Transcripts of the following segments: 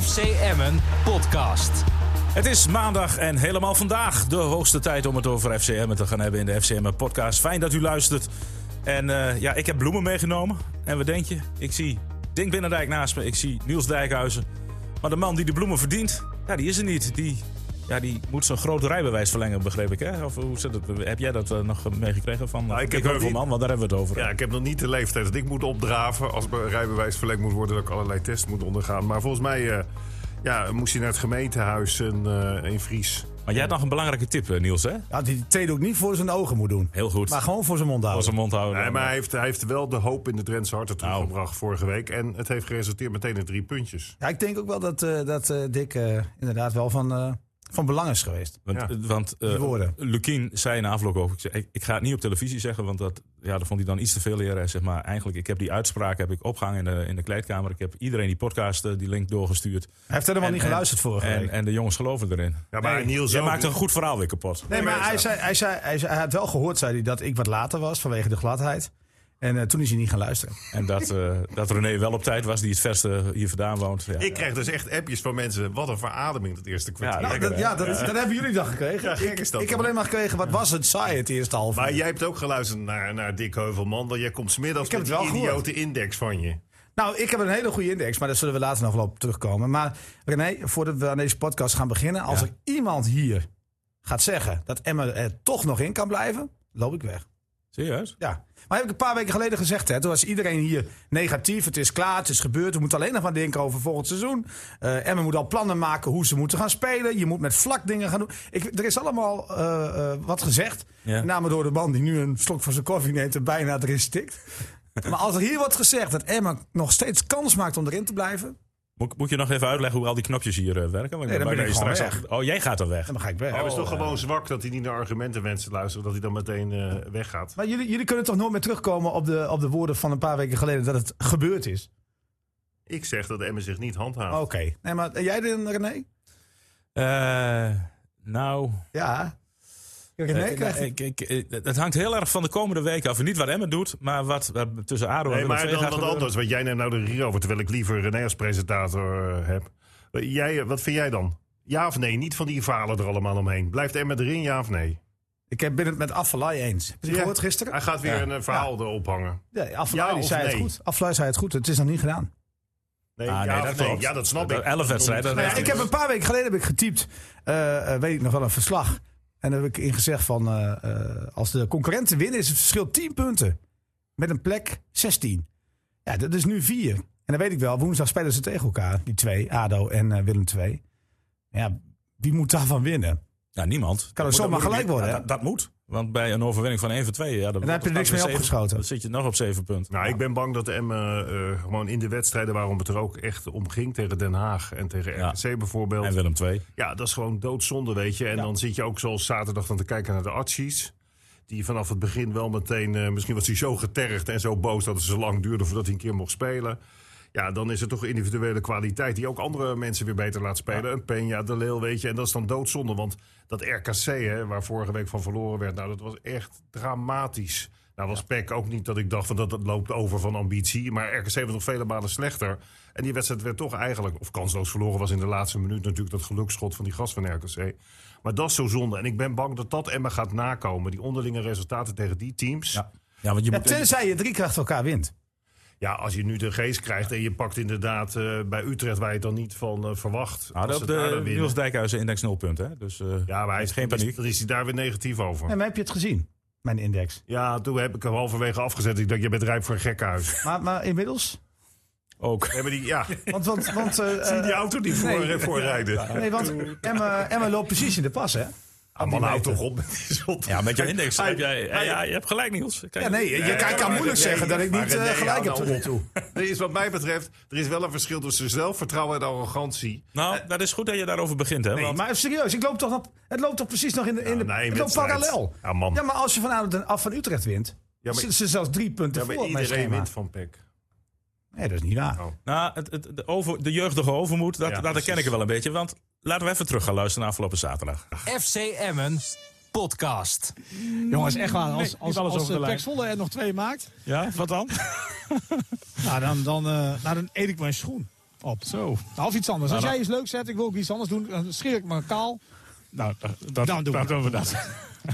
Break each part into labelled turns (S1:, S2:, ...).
S1: FC Emmen podcast.
S2: Het is maandag en helemaal vandaag de hoogste tijd om het over FC Emmen te gaan hebben in de FC Emmen podcast. Fijn dat u luistert. En eh, ja, ik heb bloemen meegenomen. En wat denk je? Ik zie Dink Binnendijk naast me. Ik zie Niels Dijkhuizen. Maar de man die de bloemen verdient, ja, die is er niet. Die, ja, die moet zijn groot rijbewijs verlengen, begreep ik. Hè? Of hoe zit het? Heb jij dat eh, nog meegekregen van
S3: Nou, ik heb
S2: Dick
S3: nog
S2: Heuvelman?
S3: niet-
S2: Want daar hebben we het over.
S3: Ja, ik heb nog niet de leeftijd dat ik moet opdraven als mijn rijbewijs verlengd moet worden, dat ik allerlei tests moet ondergaan. Maar volgens mij eh, ja, moest hij naar het gemeentehuis in, eh in Fries.
S2: Maar jij had nog een belangrijke tip, eh, Niels, hè?
S4: Ja, die theedoek niet voor zijn ogen moet doen.
S2: Heel goed.
S4: Maar gewoon voor zijn mond
S2: Als
S4: houden.
S2: een mond houden.
S3: Nee, maar Nou. hij heeft, hij heeft wel de hoop in de Drentse harten teruggebracht vorige week. En het heeft geresulteerd meteen in drie puntjes.
S4: Ja, ik denk ook wel dat, eh, dat eh, Dick eh, inderdaad wel van, eh, van belang is geweest.
S2: Want,
S3: Ja.
S2: want eh,
S4: Die woorden.
S2: Lukien zei na afloop ook, ik, zei, ik, ik ga het niet op televisie zeggen, want dat, ja, dat vond hij dan iets te veel leren. Zeg maar. Eigenlijk, ik heb die uitspraak heb ik opgehangen in de, in de kleedkamer. Ik heb iedereen die podcast, eh, die link doorgestuurd.
S4: Hij heeft helemaal
S2: En-
S4: niet
S2: en-
S4: geluisterd vorige
S2: en,
S4: week.
S2: En de jongens geloven erin.
S3: Ja, maar
S4: Nee,
S3: Niels
S2: Jij
S3: ook.
S2: maakt een goed verhaal weer kapot.
S4: nee, maar hij, zei, hij, zei, hij, zei- hij had wel gehoord, zei hij, dat ik wat later was vanwege de gladheid. En eh, toen is hij niet gaan luisteren.
S2: En dat, eh, dat René wel op tijd was, die het verste hier vandaan woont. Ja.
S3: Ik krijg dus echt appjes van mensen. Wat een verademing dat eerste kwartier.
S2: Ja,
S4: Nou,
S2: lekker,
S4: dat,
S2: hè?
S4: ja, dat, dat hebben jullie dan gekregen.
S3: Ja, gek
S4: ik,
S3: is dat,
S4: ik heb
S3: man.
S4: alleen maar gekregen, wat was het saai het eerste half
S3: Maar
S4: uur.
S3: jij hebt ook geluisterd naar, naar Dick Heuvelman. Want jij komt smiddags
S4: Ik heb
S3: met
S4: het
S3: die
S4: wel
S3: idiote
S4: gehoord.
S3: index van je.
S4: Nou, ik heb een hele goede index, maar daar zullen we later nog wel op terugkomen. Maar René, voordat we aan deze podcast gaan beginnen, als
S2: Ja.
S4: er iemand hier gaat zeggen dat Emma er toch nog in kan blijven, loop ik weg.
S2: Serieus?
S4: Ja. Maar heb ik een paar weken geleden gezegd, hè, toen was iedereen hier negatief. Het is klaar, het is gebeurd. We moeten alleen nog maar denken over volgend seizoen. Eh Emma moet al plannen maken hoe ze moeten gaan spelen. Je moet met vlak dingen gaan doen. Ik, er is allemaal eh, eh, wat gezegd.
S2: Ja.
S4: Met name door de man die nu een slok van zijn koffie neemt en bijna erin stikt. maar als er hier wordt gezegd dat Emma nog steeds kans maakt om erin te blijven,
S2: Moet, moet je nog even uitleggen hoe al die knopjes hier eh, werken? Want
S4: Nee, dan
S2: bang
S4: ben ik
S2: dat je
S4: gewoon
S2: straks al- Oh, jij gaat er weg.
S4: dan ga ik weg.
S3: Hij
S2: Oh.
S3: is toch gewoon zwak dat hij niet naar argumenten wenst te luisteren. Dat hij dan meteen eh, weggaat.
S4: Maar jullie, jullie kunnen toch nooit meer terugkomen op de, op de woorden van een paar weken geleden dat het gebeurd is?
S3: Ik zeg dat Emmen zich niet handhaaft.
S4: Oké. Nee, maar en jij dan, René?
S2: Eh, nou,
S4: Ja. René
S2: Eh,
S4: krijgt
S2: ik, ik, eh, het hangt heel erg van de komende weken af. Niet wat Emmen doet, maar wat, wat tussen ADO en
S3: Nee,
S2: Willem
S3: maar
S2: II
S3: dan
S2: gaat
S3: wat
S2: gebeuren.
S3: anders. Wat jij nou nou de Rio over, terwijl ik liever René als presentator eh, heb. Eh, Jij, eh, wat vind jij dan? Ja of nee? Niet van die verhalen er allemaal omheen. Blijft Emma erin, ja of nee?
S4: Ik ben het met Affalay eens. Heb je het
S3: Ja.
S4: gehoord gisteren?
S3: Hij gaat weer een eh, verhaal erop hangen.
S4: Nee, Affalay
S3: Ja
S4: die
S3: of
S4: zei het
S3: nee?
S4: goed. Affalay zei het goed. Het is nog niet gedaan.
S3: Nee,
S2: Ah,
S3: ja,
S2: nee,
S3: of
S2: dat
S3: nee?
S2: klopt.
S3: ja, dat snap
S2: Dat-
S3: ik.
S2: elf wedstrijden,
S3: dat
S2: dat
S3: is
S2: is-
S4: ik heb een paar weken geleden heb ik getypt, eh, eh, weet ik nog wel, een verslag. En daar heb ik ingezegd van, eh, eh, als de concurrenten winnen is het verschil 10 punten. Met een plek 16. Ja, dat is nu 4. En dan weet ik wel, woensdag spelen ze tegen elkaar. Die twee, ADO en eh, Willem II. Ja, wie moet daarvan winnen?
S2: Ja, Nou, niemand.
S4: Kan het
S2: Dat
S4: zomaar
S2: moet- dat
S4: gelijk
S2: moet-
S4: worden,
S2: ja,
S4: hè?
S2: dat, dat moet. Want bij een overwinning van 1 van 2... Ja, dan,
S4: heb je er
S2: dan
S4: niks mee
S2: zeven-
S4: opgeschoten.
S2: Dan zit je nog op 7 punten.
S3: Nou, ik ben bang dat Emma eh, gewoon in de wedstrijden waarom het er ook echt om ging tegen Den Haag en tegen
S2: Ja.
S3: RKC bijvoorbeeld.
S2: En Willem 2.
S3: Ja, dat is gewoon doodzonde, weet je. En dan zit je ook zoals zaterdag dan te kijken naar de acties. Die vanaf het begin wel meteen... eh, misschien was hij zo getergd en zo boos dat het zo lang duurde voordat hij een keer mocht spelen. Ja, dan is er toch individuele kwaliteit die ook andere mensen weer beter laat spelen. Een Peña, De Leeuw, weet je. En dat is dan doodzonde, want dat RKC, hè, waar vorige week van verloren werd... nou, dat was echt dramatisch. Nou was PEC ook niet dat ik dacht van dat het loopt over van ambitie. Maar RKC was nog vele malen slechter. En die wedstrijd werd toch eigenlijk, of kansloos verloren was in de laatste minuut... natuurlijk dat geluksschot van die gast van RKC. Maar dat is zo zonde. En ik ben bang dat dat Emma gaat nakomen. Die onderlinge resultaten tegen die teams.
S2: Ja, ja want je
S4: Ja,
S2: moet...
S4: tenzij je drie keer achter elkaar wint.
S3: Ja, als je nu de geest krijgt en je pakt inderdaad eh, bij Utrecht... waar je het dan niet van eh, verwacht.
S2: Ah,
S3: als
S2: dat
S3: ze
S2: op
S3: daar
S2: de
S3: dan winnen.
S2: Niels Dijkhuizen index 0 punten. Hè? Dus, eh,
S3: Ja, maar hij is,
S2: geen
S3: dan is-
S2: paniek.
S3: Dan is hij daar weer negatief over.
S4: En heb je het gezien, mijn index.
S3: Ja, toen heb ik hem halverwege afgezet. Ik dacht, je bent rijp voor een gekkenhuis.
S4: Maar, maar inmiddels?
S2: Ook.
S3: Hebben die, ja,
S4: Want, want, want eh,
S3: zie die
S4: eh,
S3: auto die voor,
S4: nee.
S3: voorrijden.
S4: Nee, want Emma, Emma loopt precies in de pas, hè?
S3: Ah, man, hou toch op met die zot.
S2: Ja, met jouw index
S3: Hij-
S2: heb jij...
S3: hij-
S2: ja, je hebt gelijk, Niels. Kijk,
S4: Ja, nee, je, je kan- kan moeilijk zeggen dat ik niet eh, gelijk
S3: nou,
S4: heb tot nu toe.
S3: Er is wat mij betreft, er is wel een verschil tussen zelfvertrouwen en arrogantie.
S2: Nou, dat is goed dat je daarover begint. Hè?
S4: Nee,
S2: want-
S4: maar serieus, ik loop toch op, het loopt toch precies nog in de. In de
S3: Nou, nee,
S4: het loopt
S3: wedstrijd.
S4: parallel.
S3: Ja, man.
S4: maar als je vanavond een af van Utrecht wint,
S3: Ja, maar-
S4: zitten ze zelfs drie punten
S3: Ja, maar
S4: voor. op mijn
S3: iedereen
S4: schema.
S3: wint van Peck.
S4: Nee, dat is niet waar.
S3: Oh.
S2: Nou, het, het, de, over, de jeugdige overmoed, dat,
S3: Ja,
S2: dat herken
S3: precies.
S2: ik er wel een beetje. Want laten we even terug gaan luisteren naar afgelopen zaterdag.
S1: FC Emmen podcast.
S5: Jongens, echt waar. Als,
S6: niet
S5: als,
S6: alles
S5: als,
S6: over de
S5: eh,
S6: lijn.
S5: Pek Zwolle er nog twee maakt,
S2: Ja, wat dan?
S5: nou, dan, dan, eh, nou, dan eet ik mijn schoen. op. Zo. Of iets anders. Als
S2: Nou,
S5: jij iets leuks zet, ik wil ook iets anders doen, dan scheer ik me kaal.
S6: Nou, dat, dat,
S5: Dan doen we
S6: dat doen we dat.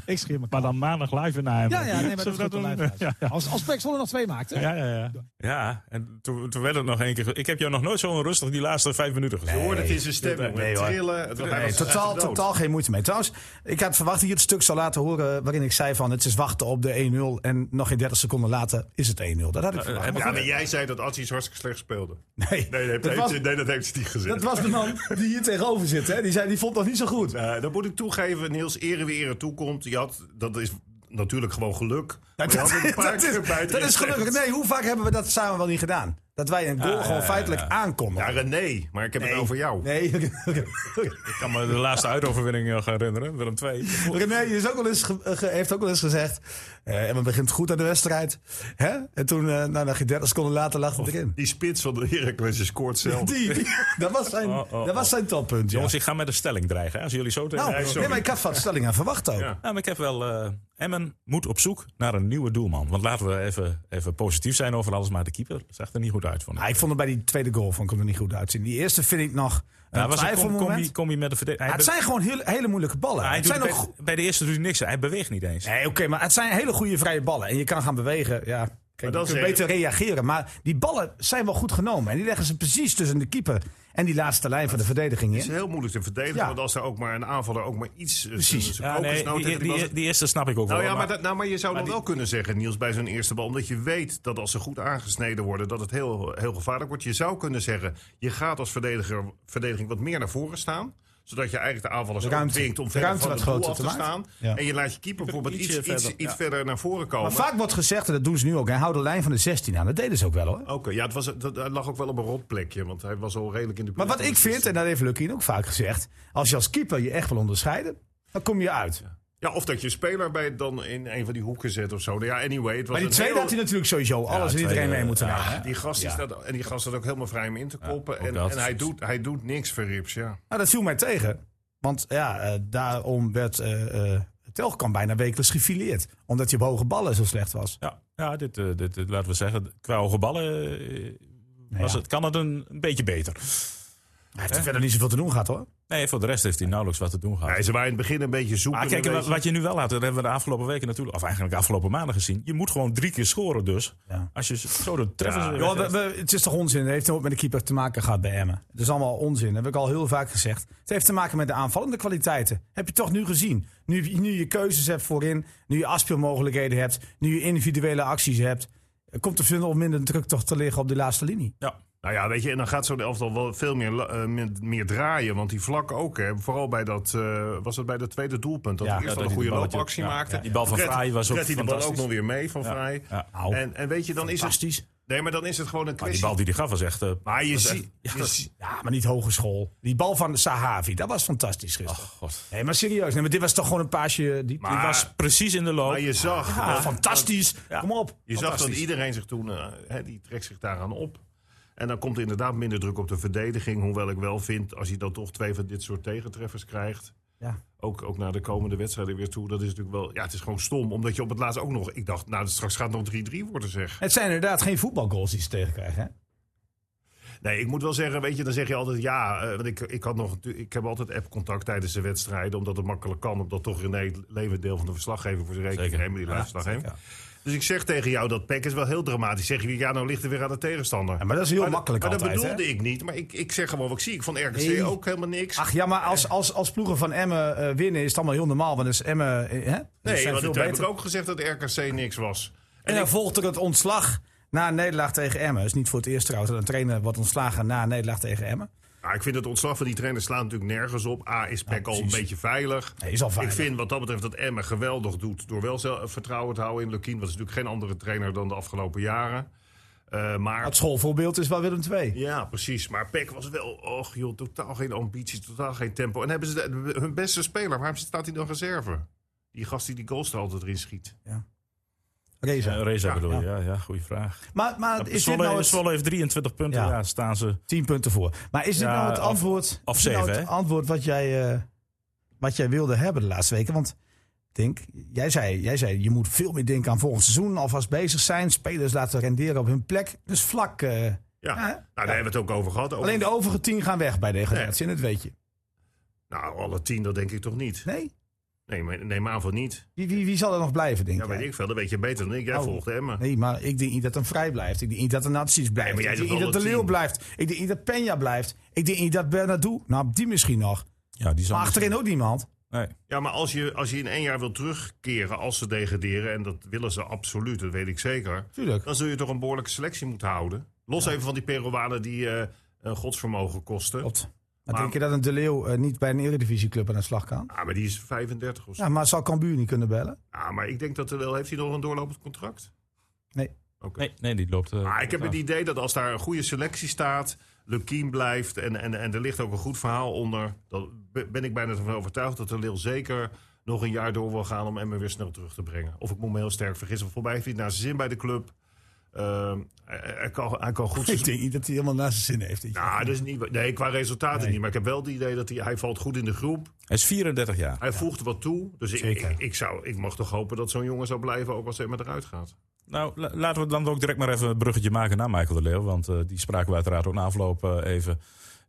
S5: Ik scheer me kaal.
S6: Maar dan maandag live naar hem.
S5: Ja, ja, nee, maar dat is
S6: Zullen
S5: goed.
S6: we
S5: dan
S6: dat doen?
S5: blijven we
S6: Ja,
S5: dat. Als, als Pek Zwolle nog twee maakt, hè?
S6: ja, ja, ja.
S2: Ja, en toen, toen werd het nog één keer. ge- Ik heb jou nog nooit zo rustig die laatste vijf minuten gezien.
S3: Je hoorde het in zijn stem.
S4: Nee,
S3: het
S4: hoor.
S3: trillen. Het- hij
S4: Nee,
S3: was
S4: totaal,
S3: echt dood.
S4: totaal geen moeite mee. Trouwens, ik had verwacht dat je het stuk zou laten horen waarin ik zei van het is wachten op de 1-0 en nog geen 30 seconden later is het 1-0. Dat had ik verwacht.
S2: heb
S4: Maar
S3: Ja,
S4: goed,
S3: maar jij zei dat Atsies hartstikke slecht speelde.
S4: nee,
S3: Nee, nee,
S4: dat,
S3: heeft-
S4: was,
S3: nee dat heeft hij niet gezegd.
S4: dat was de man die hier tegenover zit. Hè? Die, zei, die vond dat niet zo goed.
S3: Eh, dat moet ik toegeven, Niels. Ere wie ere toekomt. Je had, dat is natuurlijk gewoon geluk. Maar
S4: Nou,
S3: je had
S4: dat,
S3: een paar
S4: dat
S3: keer
S4: is,
S3: buiten
S4: dat is
S3: in
S4: gelukkig.
S3: terecht.
S4: Nee, hoe vaak hebben we dat samen wel niet gedaan? Dat wij een goal gewoon feitelijk aankondigen.
S3: Ja, René, maar ik heb het over jou.
S4: Nee,
S2: Ik kan me de laatste uitoverwinning nog herinneren, Willem II.
S4: René is ook wel eens ge- ge- heeft ook wel eens gezegd. eh, en we begint goed aan de wedstrijd. Hè? En toen, eh nou, nog geen 30 seconden later lag het erin.
S3: Die spits van de Heracles je scoort zelf.
S4: Die, dat, was zijn,
S2: Oh, oh,
S4: dat was zijn toppunt. Ja.
S2: Jongens, ik ga met een stelling dreigen. hè, Als jullie zo tegen
S4: Nou,
S2: mij
S3: sorry.
S4: nee, maar ik had van de stelling aan verwacht ook.
S2: Nou, maar ik heb wel. eh, Emmen moet op zoek naar een nieuwe doelman. Want laten we even, even positief zijn over alles. Maar de keeper zag er niet goed uit. Vond ik.
S4: Ah, ik vond het bij die tweede goal vond ik hem er niet goed uitzien. Die eerste vind ik nog een
S2: Daar Nou, was een com-
S4: twijfelmoment.
S2: combi, combi met de
S4: Ah,
S2: verdediging.
S4: het zijn gewoon heel- hele moeilijke ballen.
S2: hij
S4: het
S2: doet
S4: zijn
S2: bij,
S4: ook go-
S2: bij de eerste doet hij niks. Hij beweegt niet eens.
S4: Nee, oké, maar het zijn hele goede vrije ballen. En je kan gaan bewegen. Ja, kijk,
S3: dat
S4: je kunt
S3: is-
S4: beter reageren. Maar die ballen zijn wel goed genomen. En die leggen ze precies tussen de keeper en die laatste lijn van de verdediging
S3: Het is
S4: in.
S3: heel moeilijk te verdedigen,
S4: Ja.
S3: want als er ook maar een aanvaller ook maar iets... eh,
S4: Precies.
S3: zijn- zijn
S2: Ja,
S3: focus
S2: nee,
S3: nou
S2: die,
S3: tegen die
S2: die-
S3: bal-
S2: die eerste snap ik ook
S3: Nou
S2: wel.
S3: ja, maar,
S2: maar-
S3: dat, nou, maar je zou dan wel kunnen zeggen, Niels, bij zo'n eerste bal. Omdat je weet dat als ze goed aangesneden worden, dat het heel, heel gevaarlijk wordt. Je zou kunnen zeggen, je gaat als verdediger, verdediging wat meer naar voren staan. Zodat je eigenlijk de aanvallers
S4: De
S3: ook
S4: ruimte.
S3: dwingt om
S4: De
S3: verder
S4: ruimte
S3: van de
S4: wat
S3: doel
S4: groter
S3: af te
S4: te maken.
S3: staan.
S4: Ja.
S3: En je laat je keeper bijvoorbeeld
S2: Ietsje
S3: iets, iets,
S2: verder,
S3: iets
S2: ja.
S3: verder naar voren komen.
S4: Maar vaak wordt gezegd, en dat doen ze nu ook, hè, hou de lijn van de 16 aan. Dat deden ze ook wel hoor.
S3: Oké, ja, het was, dat, dat lag ook wel op een rot plekje, want hij was al redelijk in de
S4: Maar
S3: buurt
S4: wat
S3: van
S4: ik
S3: de
S4: vind,
S3: 16.
S4: en dat heeft Lukien ook vaak gezegd. Als je als keeper je echt wil onderscheiden, dan kom je uit.
S3: Ja, of dat je een speler bij dan in een van die hoeken zet of zo. Nou Ja, anyway. Het was
S4: Maar die
S3: een
S4: tweede
S3: heel-
S4: had hij natuurlijk sowieso alles en
S2: tweede,
S4: iedereen mee moeten nemen.
S3: Die gast, is
S4: Ja.
S3: dat, en die gast zat ook helemaal vrij om in te koppen.
S2: ook
S3: en
S2: dat.
S3: en hij, doet, hij doet niks voor Rips, ja.
S4: Nou, dat viel mij tegen. Want ja, eh, daarom werd eh eh Telkamp bijna wekelijks gefileerd. Omdat hij op hoge ballen zo slecht was.
S2: Ja, ja dit, eh, dit, dit, laten we zeggen, qua hoge ballen eh, was
S4: ja.
S2: het, kan het een, een beetje beter.
S4: Hij heeft er verder niet zoveel te doen gehad hoor.
S2: Nee, voor de rest heeft hij nauwelijks wat te doen gehad.
S3: Hij ze waren in het begin een beetje zoeken.
S2: maar kijk,
S3: een
S2: wat,
S3: beetje-
S2: wat je nu wel laat, dat hebben we de afgelopen weken natuurlijk, of eigenlijk de afgelopen maanden gezien. Je moet gewoon drie keer scoren dus.
S4: Ja.
S2: Als je zo de treffers...
S3: Ja.
S2: weer
S4: Joh, we-
S2: weggeeft.
S4: we- het is toch onzin? Het heeft nooit met de keeper te maken gehad bij Emmen. Het is allemaal onzin. Dat heb ik al heel vaak gezegd. Het heeft te maken met de aanvallende kwaliteiten. Heb je toch nu gezien? Nu, je- nu je keuzes hebt voorin, nu je afspeelmogelijkheden hebt, nu je individuele acties hebt. eh, Komt er veel minder druk toch te liggen op die laatste linie?
S2: ja.
S3: Nou ja, weet je, en dan gaat zo'n elftal wel veel meer, la- eh, meer, meer draaien. Want die vlak ook, hè. Vooral bij dat, eh, was het bij dat tweede doelpunt. Dat
S4: Ja,
S3: hij eerst
S2: ja,
S3: al
S2: dat
S3: een
S2: hij
S3: goede
S2: de balletje-
S3: loopactie
S2: ja,
S3: maakte.
S2: ja. Die bal van
S3: Fred-
S2: Vrij was ook
S3: Fred die de bal ook
S2: fantastisch.
S3: nog weer mee van Vrij.
S2: ja.
S4: Nou,
S3: En, en weet je, dan is het...
S4: fantastisch.
S3: Nee, maar dan is het gewoon een
S2: Maar die
S3: kwestie...
S2: bal die hij gaf was echt... eh,
S3: Maar je
S2: was echt-
S3: ziet... je ziet-
S4: Ja, maar niet hogeschool. Die bal van Sahavi, dat was fantastisch gisteren.
S2: oh, God.
S4: Nee, maar serieus. Nee, maar dit was toch gewoon een paasje. Die,
S2: Die
S3: Maar-
S2: was precies in de loop.
S3: Maar je zag...
S4: Ah, fantastisch. Kom op.
S3: Je zag dat
S4: Fantastisch.
S3: iedereen zich toen, eh, hè, die trekt zich daaraan op. En dan komt er inderdaad minder druk op de verdediging. Hoewel ik wel vind, als je dan toch twee van dit soort tegentreffers krijgt.
S4: Ja.
S3: Ook, ook naar de komende wedstrijden weer toe. Dat is natuurlijk wel. Ja, het is gewoon stom. Omdat je op het laatst ook nog. Ik dacht, nou, straks gaat het nog 3-3 worden, zeg.
S4: Het zijn inderdaad geen voetbalgoals die ze tegenkrijgen. Hè?
S3: Nee, ik moet wel zeggen, weet je, dan zeg je altijd ja. eh, want ik, ik, had nog, ik heb altijd app-contact tijdens de wedstrijden. Omdat het makkelijk kan. Omdat toch René het levend deel van de verslaggever voor zijn rekening
S2: Zeker.
S3: neemt. Die
S2: Ja,
S3: laatste dag
S2: zeker.
S3: Dus ik zeg tegen jou dat Peck is wel heel dramatisch. Zeg je, ja, nou ligt er weer aan de tegenstander.
S4: Ja, maar dat is heel
S3: Maar dat-
S4: makkelijk
S3: maar
S4: altijd.
S3: dat bedoelde
S4: hè?
S3: ik niet. Maar ik, ik zeg gewoon wat ik zie. Ik vond RKC
S4: Nee.
S3: ook helemaal niks.
S4: Ach ja, maar als, als, als ploegen van Emmen eh, winnen is het allemaal heel normaal. Want dan is Emmen... eh, Hè? Dus
S3: nee,
S4: zijn
S3: want
S4: veel
S3: toen heb ik
S4: beter.
S3: ook gezegd dat RKC niks was.
S4: En dan volgt er het ontslag na een nederlaag tegen Emmen. is niet voor het eerst trouwens dat een trainer wordt ontslagen na een nederlaag tegen Emmen.
S3: Nou, ik vind het ontslag van die trainer slaat natuurlijk nergens op. A, is Peck al een
S4: precies.
S3: beetje veilig.
S4: Nee, is al veilig.
S3: Ik vind wat dat betreft dat Emmen geweldig doet. Door wel zelf vertrouwen te houden in Lukien. Want het is natuurlijk geen andere trainer dan de afgelopen jaren. Eh, maar
S4: Het schoolvoorbeeld is wel Willem II.
S3: Ja, precies. Maar Peck was wel, och joh, totaal geen ambitie, totaal geen tempo. En hebben ze de- hun beste speler, waarom staat hij dan reserve? Die gast die die goals er altijd in schiet.
S4: Reza.
S2: Ja, Reza
S3: Ja,
S2: bedoel je. Ja, ja, goede vraag.
S4: Maar, maar is dit
S2: Zwolle,
S4: nou het...
S2: Zwolle heeft 23 punten. Ja,
S4: Ja.
S2: staan ze...
S4: 10 punten voor. Maar is dit
S2: Ja,
S4: nou het
S2: of-
S4: antwoord,
S2: of
S4: is dit nou
S2: zeven,
S4: het
S2: hè?
S4: antwoord wat, jij, eh, wat jij wilde hebben de laatste weken? Want ik denk, jij zei, jij zei je moet veel meer denken aan volgend seizoen. Alvast bezig zijn, spelers laten renderen op hun plek. Dus vlak eh,
S3: Ja.
S4: Ja, hè?
S3: nou, daar hebben we het ook over gehad. Over-
S4: Alleen de overige tien gaan weg bij degradatie, en dat weet je.
S3: Nou, alle tien, dat denk ik toch niet.
S4: Nee?
S3: Nee, maar neem aan van niet.
S4: Wie, wie, wie zal er nog blijven, denk
S3: Ja,
S4: jij?
S3: weet ik veel. Dat weet je beter dan ik. Jij
S4: Oh.
S3: volgt Emma.
S4: Nee, maar ik denk niet dat een Vrij blijft. Ik denk niet dat de Nazis blijft.
S3: maar jij
S4: ik denk
S3: doet
S4: niet dat De
S3: alle
S4: Leeuw
S3: tien.
S4: blijft. Ik denk niet dat Peña blijft. Ik denk niet dat Bernardo... Nou, die misschien nog.
S2: Ja, die zal
S4: Maar achterin ook niemand.
S2: Nee.
S3: Ja, maar als je, als je in één jaar wil terugkeren als ze degraderen... en dat willen ze absoluut, dat weet ik zeker...
S4: Tuurlijk.
S3: dan zul je toch een behoorlijke selectie moeten houden. Los even van die Peruanen die eh, een godsvermogen kosten.
S4: Klopt. Maar,
S3: Maar-
S4: denk je dat een De Leeuw eh, niet bij een Eredivisieclub aan de slag kan?
S3: Ah, maar die is 35 of zo.
S4: Ja, maar zal Cambuur niet kunnen bellen?
S3: Ah, maar ik denk dat er wel... Heeft hij nog een doorlopend contract?
S4: Nee.
S3: Oké.
S2: Nee, nee, die loopt. eh,
S3: Maar Ah, ik heb
S2: af.
S3: het idee dat als daar een goede selectie staat... Lukien blijft en, en, en er ligt ook een goed verhaal onder... dan be- ben ik bijna ervan overtuigd dat de Lille zeker nog een jaar door wil gaan... om Emmen weer snel terug te brengen. Of ik moet me heel sterk vergissen. Volgens mij heeft hij het naar zijn zin bij de club. Ehm, hij, hij kan, hij kan goed...
S4: Ik denk niet dat hij helemaal naast zijn zin heeft. weet je.
S3: Nou, dat is niet, wa- nee, qua resultaten niet. Maar ik heb wel het idee dat hij, hij valt goed in de groep.
S2: Hij is 34 jaar.
S3: Hij voegt wat toe. Dus ik,
S4: Zeker.
S3: ik, ik, zou, ik mag toch hopen dat zo'n jongen zou blijven... ook als hij maar eruit gaat.
S2: Nou, la- laten we dan ook direct maar even een bruggetje maken naar Michael de Leeuw. Want eh, die spraken we uiteraard ook na afloop eh, even.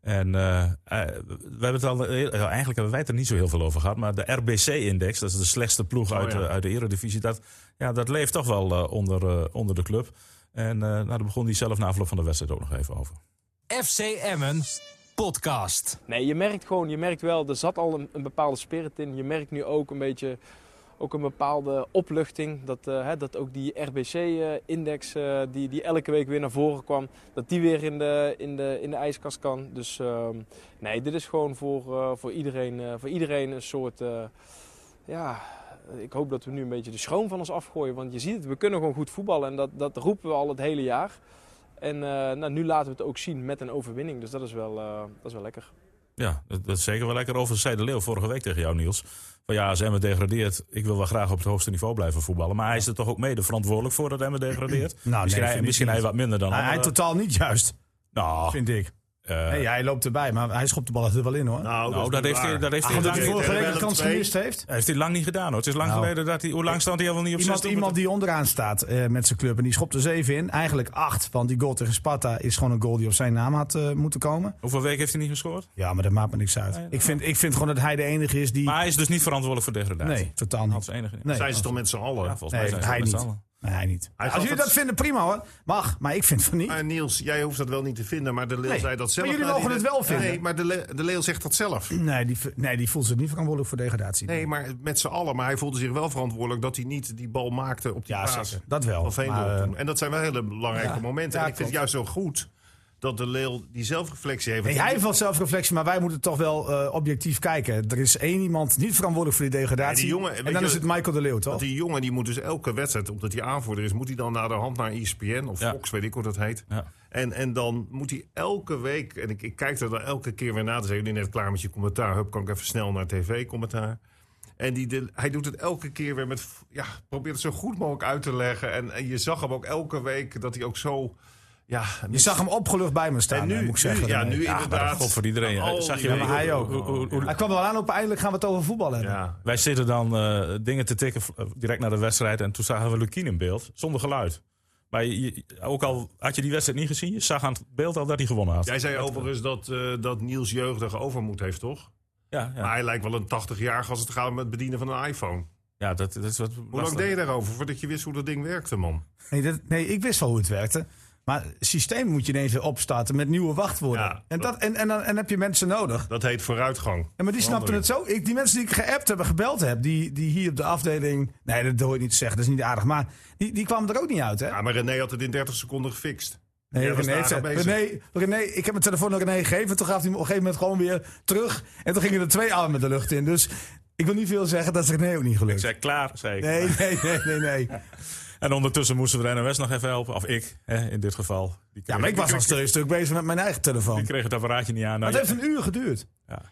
S2: En eh, eh, we hebben het al, heel- ja, eigenlijk hebben wij het er niet zo heel veel over gehad. Maar de RBC-index, dat is de slechtste ploeg uit,
S3: ja.
S2: de, uit de Eredivisie. Dat, ja, dat leeft toch wel eh, onder, eh, onder de club. En eh nou, daar begon hij zelf na afloop van de wedstrijd ook nog even over.
S1: FC Emmen podcast.
S7: Nee, je merkt gewoon, je merkt wel, er zat al een, een bepaalde spirit in. Je merkt nu ook een beetje ook een bepaalde opluchting. Dat, eh, hè, dat ook die RBC-index, eh, die, die elke week weer naar voren kwam, dat die weer in de, in de, in de ijskast kan. Dus ehm, nee, dit is gewoon voor, eh, voor, iedereen, eh, voor iedereen een soort. eh, ja, ik hoop dat we nu een beetje de schroom van ons afgooien. Want je ziet het, we kunnen gewoon goed voetballen en dat, dat roepen we al het hele jaar. En eh, nou, nu laten we het ook zien met een overwinning. Dus dat is wel, eh, dat is wel lekker.
S2: Ja, dat, dat is zeker wel lekker. Overigens zei de Leeuw vorige week tegen jou, Niels. Van ja, als Emmen degradeert, ik wil wel graag op het hoogste niveau blijven voetballen. Maar hij is er toch ook mede verantwoordelijk voor dat Emmen degradeert?
S4: Ah, nee,
S2: misschien
S4: vind
S2: hij,
S4: ik
S2: misschien
S4: niet.
S2: hij wat minder dan
S4: Hij, hij
S2: anderen.
S4: totaal niet juist,
S2: Nou,
S4: vind ik.
S2: eh,
S4: Nee, hij loopt erbij, maar hij schopt de bal er wel in, hoor.
S3: Nou,
S2: Nou, dat
S3: niet
S2: heeft, hij,
S3: waar.
S2: dat heeft
S4: Ah,
S2: hij
S4: omdat hij
S2: lang,
S4: vorige week een
S3: Willem
S4: kans
S3: twee.
S4: gemist heeft.
S2: heeft hij lang niet gedaan. Hoor. Het is lang
S4: Nou.
S2: geleden dat hij... Hoe lang stond hij al niet op
S4: Iemand,
S2: zes
S4: iemand die onderaan staat eh, met zijn club en die schopt er zeven in. Eigenlijk acht, want die goal tegen Sparta is gewoon een goal die op zijn naam had eh, moeten komen.
S2: Hoeveel weken heeft hij niet gescoord?
S4: Ja, maar dat maakt me niks uit.
S2: Nee, dat
S4: ik, vind, ik vind gewoon dat hij de enige is die...
S2: Maar hij is dus niet verantwoordelijk voor degradatie.
S4: nee, totaal
S2: Als
S4: niet.
S2: enige.
S4: Nee,
S3: Zijn ze toch met z'n allen?
S2: Ja, volgens mij
S4: Nee,
S2: zijn ze
S4: hij
S2: met z'n
S4: niet.
S2: allen.
S4: nee, hij niet.
S3: Hij
S4: Als
S3: gaf
S4: jullie
S3: het-
S4: dat vinden, prima hoor. Mag, maar ik vind van niet.
S3: Maar Niels, jij hoeft dat wel niet te vinden, maar de Leeuw
S4: Nee,
S3: zei dat zelf.
S4: maar jullie
S3: Nou, die-
S4: mogen het wel vinden.
S3: Nee, maar de, Le- de Leeuw zegt dat zelf.
S4: Nee, die, v- nee, die voelt zich niet verantwoordelijk voor degradatie.
S3: Nee, maar met z'n allen. Maar hij voelde zich wel verantwoordelijk dat hij niet die bal maakte op die
S4: Ja,
S3: paas
S4: zeker. Dat wel.
S3: van Veendorp
S4: Maar, eh,
S3: toen. En dat zijn wel hele belangrijke
S4: ja,
S3: momenten.
S4: ja,
S3: en ik vind het juist zo goed dat de Leeuw die zelfreflectie heeft.
S4: Nee, hij heeft wel zelfreflectie, maar wij moeten toch wel eh, objectief kijken. Er is één iemand niet verantwoordelijk voor die degradatie.
S3: Nee, die jongen,
S4: en
S3: weet
S4: dan
S3: je-
S4: is het Michael de Leeuw, toch?
S3: Want die jongen die moet dus elke wedstrijd, omdat hij aanvoerder is, moet hij dan naar de hand naar E ESPN of
S2: Ja.
S3: Fox, weet ik hoe dat heet.
S2: Ja.
S3: En, en dan moet hij elke week, en ik, ik kijk er dan elke keer weer na, dan zijn jullie net klaar met je commentaar. Hup, kan ik even snel naar tv-commentaar. En die, de- hij doet het elke keer weer met, ja, probeert het zo goed mogelijk uit te leggen. En, en je zag hem ook elke week dat hij ook zo, ja.
S4: Je zag hem opgelucht bij me staan,
S3: en
S4: hè,
S3: nu,
S4: moet ik zeggen.
S3: nu, ja,
S4: Nee.
S3: nu
S2: Ja, maar
S3: inderdaad.
S2: god voor iedereen.
S3: Ja, al
S2: Zag
S3: die-
S2: je
S4: maar hij ook.
S2: Hoe- hoe- hoe-
S4: Hij kwam wel aan op, eindelijk gaan we het over voetbal hebben.
S3: Ja,
S2: Wij zitten dan eh, dingen te tikken eh, direct na de wedstrijd. En toen zagen we Lukien in beeld, zonder geluid. Maar je- je- ook al had je die wedstrijd niet gezien, je zag aan het beeld al dat hij gewonnen had.
S3: jij zei overigens dat, eh, dat Niels jeugdig overmoed heeft, toch?
S2: ja, ja.
S3: Maar hij lijkt wel een 80-jarige als het gaat met het bedienen van een iPhone.
S2: ja dat, dat is wat
S3: Hoe lang deed je daarover voordat je wist hoe dat ding werkte, man?
S4: Nee, dat, nee, ik wist wel hoe het werkte. Maar het systeem moet je ineens weer opstarten met nieuwe wachtwoorden.
S3: Ja,
S4: en, dat, en, en dan en heb je mensen nodig.
S3: Dat heet vooruitgang.
S4: En maar die snapten het zo. Ik, die mensen die ik geappt heb en gebeld heb, die, die hier op de afdeling... Nee, dat hoor je niet te zeggen, dat is niet aardig. Maar die, die kwamen er ook niet uit, hè?
S3: Ja, maar René had het in 30 seconden gefixt.
S4: Nee,
S3: Jij was
S4: René, heeft-
S3: daar bezig.
S4: René, René, ik heb mijn telefoon aan René gegeven. Toen gaf hij hem op een gegeven moment gewoon weer terug. En toen gingen er twee armen de lucht in. Dus ik wil niet veel zeggen, dat is René ook niet
S2: Ik
S4: gelukt.
S2: zei klaar, zei ik.
S4: Nee, nee, nee, nee, nee.
S2: En ondertussen moesten we de NOS nog even helpen. Of ik, hè, in dit geval. Die
S4: Ja, maar ik was al
S2: die,
S4: een stuk bezig met mijn eigen telefoon.
S2: die kreeg het apparaatje niet aan. Nou,
S4: Het heeft een uur geduurd.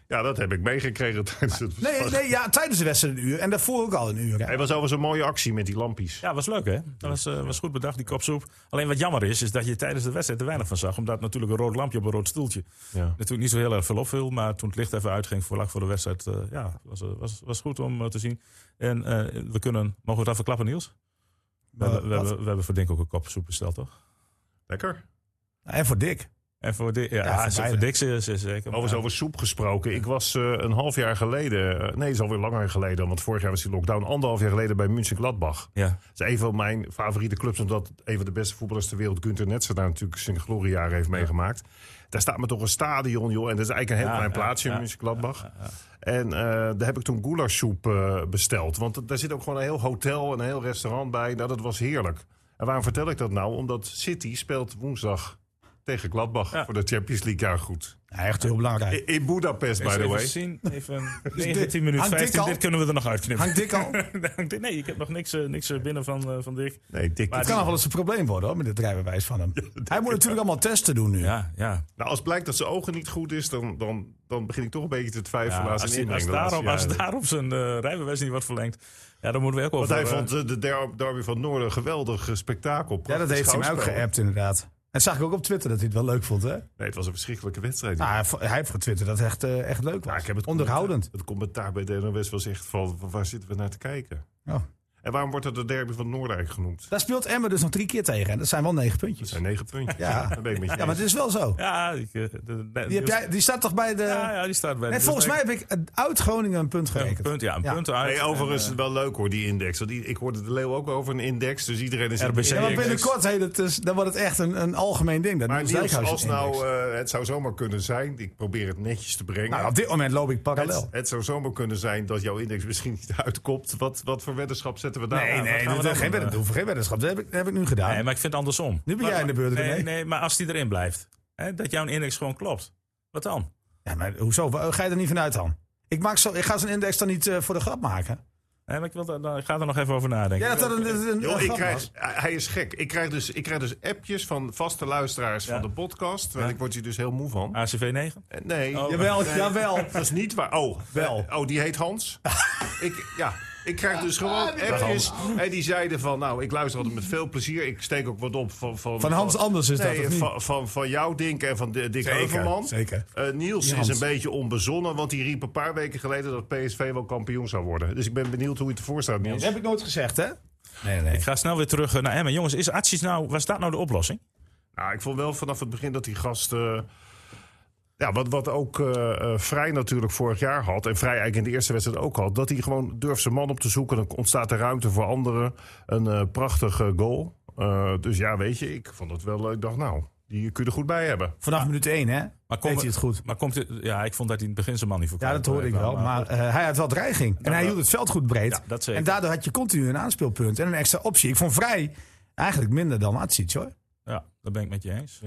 S3: Ja, dat heb ik meegekregen tijdens het
S4: Nee,
S3: verslag.
S4: nee ja, tijdens de wedstrijd een uur. En daarvoor ook al een uur. Hè.
S3: Hij was overigens een mooie actie met die lampjes.
S2: ja, was leuk hè? Dat was, eh, was goed bedacht, die kopsoep. Alleen wat jammer is, is dat je tijdens de wedstrijd er weinig van zag. Omdat natuurlijk een rood lampje op een rood stoeltje
S3: Ja.
S2: natuurlijk niet zo heel erg veel opviel. Maar toen het licht even uitging voor vlak voor de wedstrijd, eh, ja, was, eh, was, was goed om eh, te zien. En eh, we kunnen, mogen we het even klappen Niels? We,
S4: Eh,
S2: hebben, we,
S4: wat?
S2: hebben, we hebben voor Dink ook een kopsoep besteld toch?
S3: Lekker.
S4: En voor Dick.
S2: En voor, Dick- ja,
S4: voor
S2: ja, ze- voor
S4: beide.
S2: Dick is is zeker.
S3: Overigens
S2: Ja.
S3: over soep gesproken. Ik was eh, een half jaar geleden, eh, nee, het is alweer langer geleden, want vorig jaar was die lockdown, anderhalf jaar geleden bij München Gladbach.
S2: Ja.
S3: Dat is een van mijn favoriete clubs, omdat een van de beste voetballers ter wereld, Gunther Netzer, daar natuurlijk zijn gloriejaren heeft meegemaakt. Daar staat me toch een stadion, joh, en dat is eigenlijk een heel
S2: Ja,
S3: klein
S2: ja,
S3: plaatsje
S2: ja,
S3: in München Gladbach. En eh, daar heb ik toen goulashsoep eh, besteld, want d- daar zit ook gewoon een heel hotel en een heel restaurant bij. Nou, dat was heerlijk. En waarom vertel ik dat nou? Omdat City speelt woensdag tegen Gladbach voor de Champions League jaar goed.
S4: Ja, echt heel belangrijk.
S3: In in Budapest, by
S2: Eens
S3: the
S2: even
S3: way.
S2: zien, even 19 minuten
S4: Dus hangt Dick
S2: 15,
S4: al?
S2: dit kunnen we er nog uitknippen.
S4: Hangt Dick al?
S2: Hangt Dick- Nee, ik heb nog niks, eh, niks eh, binnen van, eh, van Dick.
S3: Nee, dik.
S2: Maar
S4: Het kan nog wel eens een probleem worden hoor, met het rijbewijs van hem. Hij moet natuurlijk allemaal testen doen nu.
S2: Ja, ja.
S3: Nou, als blijkt dat zijn ogen niet goed is, dan, dan, dan begin ik toch een beetje te twijfelen
S2: Ja,
S3: aan
S2: als,
S3: zijn
S2: die,
S3: inbreng.
S2: als,
S3: de laatste
S2: daarom, als
S3: jaren.
S2: daarom zijn eh, rijbewijs niet wordt verlengd, ja, dan moeten we ook
S3: Want
S2: over...
S3: hij
S2: eh,
S3: vond eh, de der- derby van Noorden een geweldig eh, spektakel.
S4: Ja, dat
S3: Prachtig
S4: heeft hij mij ook
S3: schouwspel.
S4: geappt inderdaad. En dat zag ik ook op Twitter dat hij het wel leuk vond. Hè?
S3: Nee, het was een verschrikkelijke wedstrijd.
S4: Nou, hij vo- hij heeft getwitterd dat het echt, eh, echt leuk was.
S3: Ja, ik heb het
S4: Onderhoudend.
S3: Het commentaar bij de NOS was echt van, van waar zitten we naar te kijken?
S4: Ja.
S3: En waarom wordt het de derby van Noorden eigenlijk genoemd?
S4: Oh. Daar speelt Emmen dus nog drie keer tegen. En dat zijn wel negen
S3: Dat
S4: puntjes.
S3: zijn negen puntjes.
S4: Ja.
S3: Daar ben ik met je
S4: Ja, maar
S3: eens.
S4: het is wel zo.
S2: Ja, ik, eh, de- de-
S4: Die, heb jij, die staat toch bij de...
S2: Ja, ja, die staat bij de-
S4: en volgens
S2: dus
S4: mij heb ik eh, uit Groningen een punt
S2: Een
S4: gerekend.
S2: punt, ja, een
S4: Ja.
S2: punt uit.
S3: Nee, overigens
S4: eh,
S3: is het wel leuk hoor, die index. Want die- ik hoorde de Leeuw ook over een index, dus iedereen is... in de
S2: RBC
S4: Ja,
S3: index.
S4: maar binnenkort heet het dus, dan wordt het echt een, een algemeen ding. Dat
S3: Maar
S4: Niels
S3: Niels,
S4: Dijkhuizen
S3: als nou, eh, het zou zomaar kunnen zijn, ik probeer het netjes te brengen.
S4: Nou, op dit moment loop ik
S3: het,
S4: parallel.
S3: het zou zomaar kunnen zijn dat jouw index misschien niet uitkomt. Wat, wat voor weddenschap zetten we daar
S4: Nee,
S3: aan? Wat
S4: nee,
S3: gaan we
S4: dat,
S3: dan
S4: geen
S3: doen?
S4: weddenschap. Geen weddenschap. Dat heb ik, dat heb ik nu gedaan.
S2: eh, Nee, maar ik vind het andersom.
S4: nu ben jij in de beurt.
S2: Nee,
S4: René.
S2: nee, maar als die erin blijft. Hè, dat jouw index gewoon klopt. Wat dan?
S4: Ja, maar hoezo? Wa- Ga je er niet vanuit dan? Ik, maak zo, ik ga zo'n index dan niet eh, voor de grap maken.
S2: Hè, maar ik, wil daar- daar- ik ga er nog even over nadenken.
S4: Ja, dat dat een, een, een
S3: Joh, ik
S4: grap
S3: krijg,
S4: was.
S3: hij is gek. Ik krijg dus, ik krijg dus appjes van vaste luisteraars
S2: Ja.
S3: van de podcast. Want
S2: Ja.
S3: ik word hier dus heel moe van.
S2: ACV 9?
S3: Eh, Nee,
S2: Oh.
S4: Jawel,
S3: Nee.
S4: jawel.
S3: dat is niet waar. Oh,
S4: Wel. Ah,
S3: eh, Oh, die heet Hans. ik, ja. Ik krijg dus gewoon appjes. En die zeiden van, nou, ik luister altijd met veel plezier. Ik steek ook wat op van... Van,
S4: Van Hans Anders is
S3: Nee,
S4: dat, of niet?
S3: van, van, van jou, Dink, en van de- Dick Heuvelman.
S4: zeker.
S3: Eh, Niels
S4: Hans.
S3: is een beetje onbezonnen, want die riep een paar weken geleden dat PSV wel kampioen zou worden. Dus ik ben benieuwd hoe je het ervoor staat, Niels.
S4: Dat heb ik nooit gezegd, hè? Nee, nee.
S2: Ik ga snel weer terug eh, naar Emmen. Jongens, is Atsies nou, was dat nou de oplossing?
S3: Nou, ik vond wel vanaf het begin dat die gast... eh, ja, wat, wat ook eh, eh, Vrij natuurlijk vorig jaar had... en Vrij eigenlijk in de eerste wedstrijd ook had... dat hij gewoon durft zijn man op te zoeken. Dan ontstaat er ruimte voor anderen. Een eh, prachtige goal. Eh, dus ja, weet je, ik vond het wel... Ik dacht, nou, die kun je er goed bij hebben.
S4: Vanaf minuut 1, hè?
S2: Maar
S4: Deed hij het goed.
S2: Maar komt het, ja, ik vond dat hij in het begin zijn man niet voor
S4: Ja,
S2: kwam.
S4: dat hoorde ik wel. Maar eh, hij had wel dreiging. En hij hield het veld goed breed.
S2: Ja, dat zeker.
S4: en daardoor had je continu een aanspeelpunt en een extra optie. Ik vond Vrij eigenlijk minder dan Atsic, hoor.
S2: Ja, dat ben ik met je eens.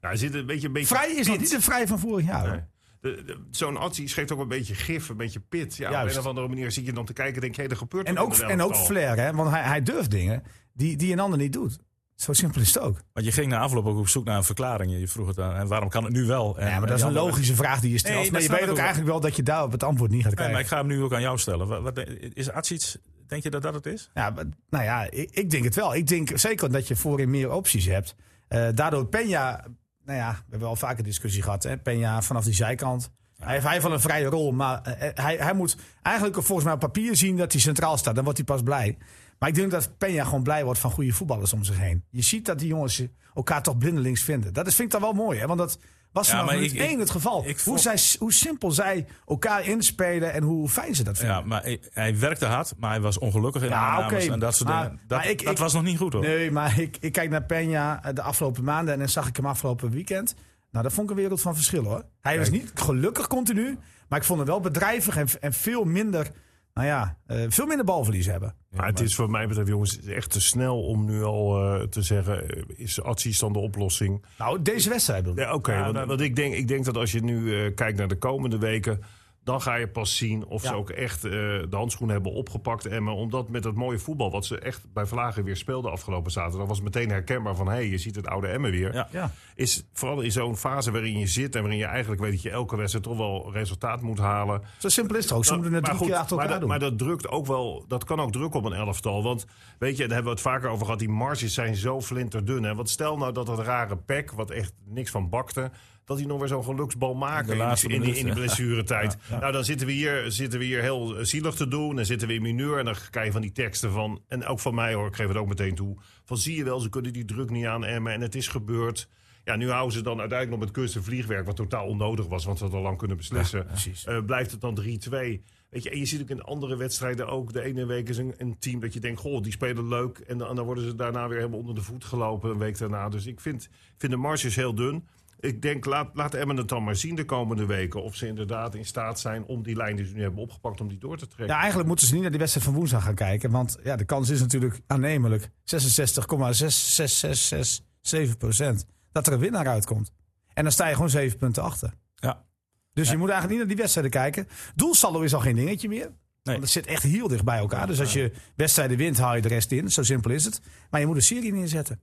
S3: Nou, hij zit een beetje... Een beetje
S4: Vrij is nog niet de Vrij van vorig jaar. hoor.
S3: Nee. De- de- Zo'n actie geeft ook een beetje gif, een beetje pit. Ja, op
S4: Juist.
S3: een of andere manier zie je dan te kijken en denk je, hé, er gebeurt
S4: En
S3: wat
S4: ook,
S3: in het
S4: en ook
S3: elftal.
S4: flair, hè? Want hij, hij durft dingen die, die een ander niet doet. Zo simpel is het ook.
S2: Want je ging na afloop ook op zoek naar een verklaring. Je vroeg het aan, en waarom kan het nu wel? En,
S4: Ja,
S2: en
S4: maar
S2: die
S4: dat is een
S2: andere-
S4: logische vraag die je stelt.
S2: Eh, Nee, dat
S4: maar je
S2: snap
S4: weet
S2: ik
S4: ook
S2: ook.
S4: eigenlijk wel dat je daarop het antwoord niet gaat
S2: Nee,
S4: krijgen.
S2: maar ik ga hem nu ook aan jou stellen. Wat, wat- is Atsic, denk je dat dat het is?
S4: Ja, maar- nou ja, ik, ik denk het wel. Ik denk zeker dat je voorin meer opties hebt. Eh, daardoor Peña, nou ja, we hebben al vaker discussie gehad. Hè? Peña vanaf die zijkant. Hij heeft, hij heeft wel een vrije rol, maar eh, hij, hij moet eigenlijk volgens mij op papier zien dat hij centraal staat. Dan wordt hij pas blij. Maar ik denk dat Peña gewoon blij wordt van goede voetballers om zich heen. Je ziet dat die jongens elkaar toch blindelings vinden. Dat is, vind ik dan wel mooi, hè? want dat was
S2: Ja,
S4: vanaf
S2: maar
S4: minuut
S2: ik- ik-
S4: één het geval.
S2: ik
S4: hoe,
S2: vond-
S4: zij, hoe simpel zij elkaar inspelen en hoe fijn ze dat vinden.
S2: Ja, maar hij, hij werkte hard, maar hij was ongelukkig in
S4: Ja,
S2: aannames
S4: oké.
S2: en dat soort
S4: Maar-
S2: dingen. Dat,
S4: maar ik-
S2: dat
S4: ik-
S2: was nog niet goed hoor.
S4: Nee, maar ik, ik kijk naar Peña eh, de afgelopen maanden en dan zag ik hem afgelopen weekend. Nou, dat vond ik een wereld van verschil hoor. Hij was niet gelukkig continu, maar ik vond hem wel bedrijvig en, en veel minder, nou ja, eh, veel minder balverlies hebben.
S3: Maar het is voor mij betreft, jongens, echt te snel om nu al eh, te zeggen... eh, is acties dan de oplossing?
S4: Nou, deze wedstrijd bedoel ik.
S3: Ja, Oké, want, want ik, denk, ik denk dat als je nu eh, kijkt naar de komende weken... dan ga je pas zien of ze
S4: Ja.
S3: ook echt eh, de handschoenen hebben opgepakt. Emmen, omdat met dat mooie voetbal wat ze echt bij Vlagen weer speelden afgelopen zaterdag... was het meteen herkenbaar van, hé, hey, je ziet het oude Emmen weer.
S2: Ja.
S4: Ja.
S3: Is vooral in zo'n fase waarin je zit en waarin je eigenlijk weet dat je elke wedstrijd toch wel resultaat moet halen.
S4: Zo simpel is het ook. Nou, Ze moeten het
S3: Nou, Maar
S4: drie
S3: goed,
S4: keer achter elkaar
S3: maar dat,
S4: doen.
S3: Maar dat drukt ook wel, dat kan ook druk op een elftal. Want weet je, daar hebben we het vaker over gehad. Die marges zijn zo flinterdun. Hè? Want stel nou dat dat rare pek, wat echt niks van bakte, dat hij nog weer zo'n geluksbal maakt
S2: De
S3: in,
S2: laatste
S3: die- in, die- in de
S2: minuut, ja.
S3: blessuretijd. Nou, dan zitten we, hier, zitten we hier heel zielig te doen. Dan zitten we in mineur en dan krijg je van die teksten van... en ook van mij hoor, ik geef het ook meteen toe... van zie je wel, ze kunnen die druk niet aan Emmen en het is gebeurd. Ja, nu houden ze dan uiteindelijk nog met kunst en vliegwerk, wat totaal onnodig was, want ze hadden al lang kunnen beslissen.
S4: precies.
S3: Eh, blijft het dan 3-2? Weet je, en je ziet ook in andere wedstrijden ook, de ene week is een, een team dat je denkt, goh, die spelen leuk. En dan, dan worden ze daarna weer helemaal onder de voet gelopen een week daarna. Dus ik vind, vind de marges heel dun. Ik denk, laat, laat Emmen het dan maar zien de komende weken. Of ze inderdaad in staat zijn om die lijn die ze nu hebben opgepakt, om die door te trekken.
S4: Ja, eigenlijk moeten ze niet naar die wedstrijd van woensdag gaan kijken. Want ja, de kans is natuurlijk aannemelijk. 66,6667 procent. Dat er een winnaar uitkomt. En dan sta je gewoon zeven punten achter.
S2: Ja.
S4: Dus je moet eigenlijk niet naar die wedstrijden kijken. Doelsaldo is al geen dingetje meer. Want het zit echt heel dicht bij elkaar. Dus als je wedstrijden wint, haal je de rest in. Zo simpel is het. Maar je moet een serie neerzetten.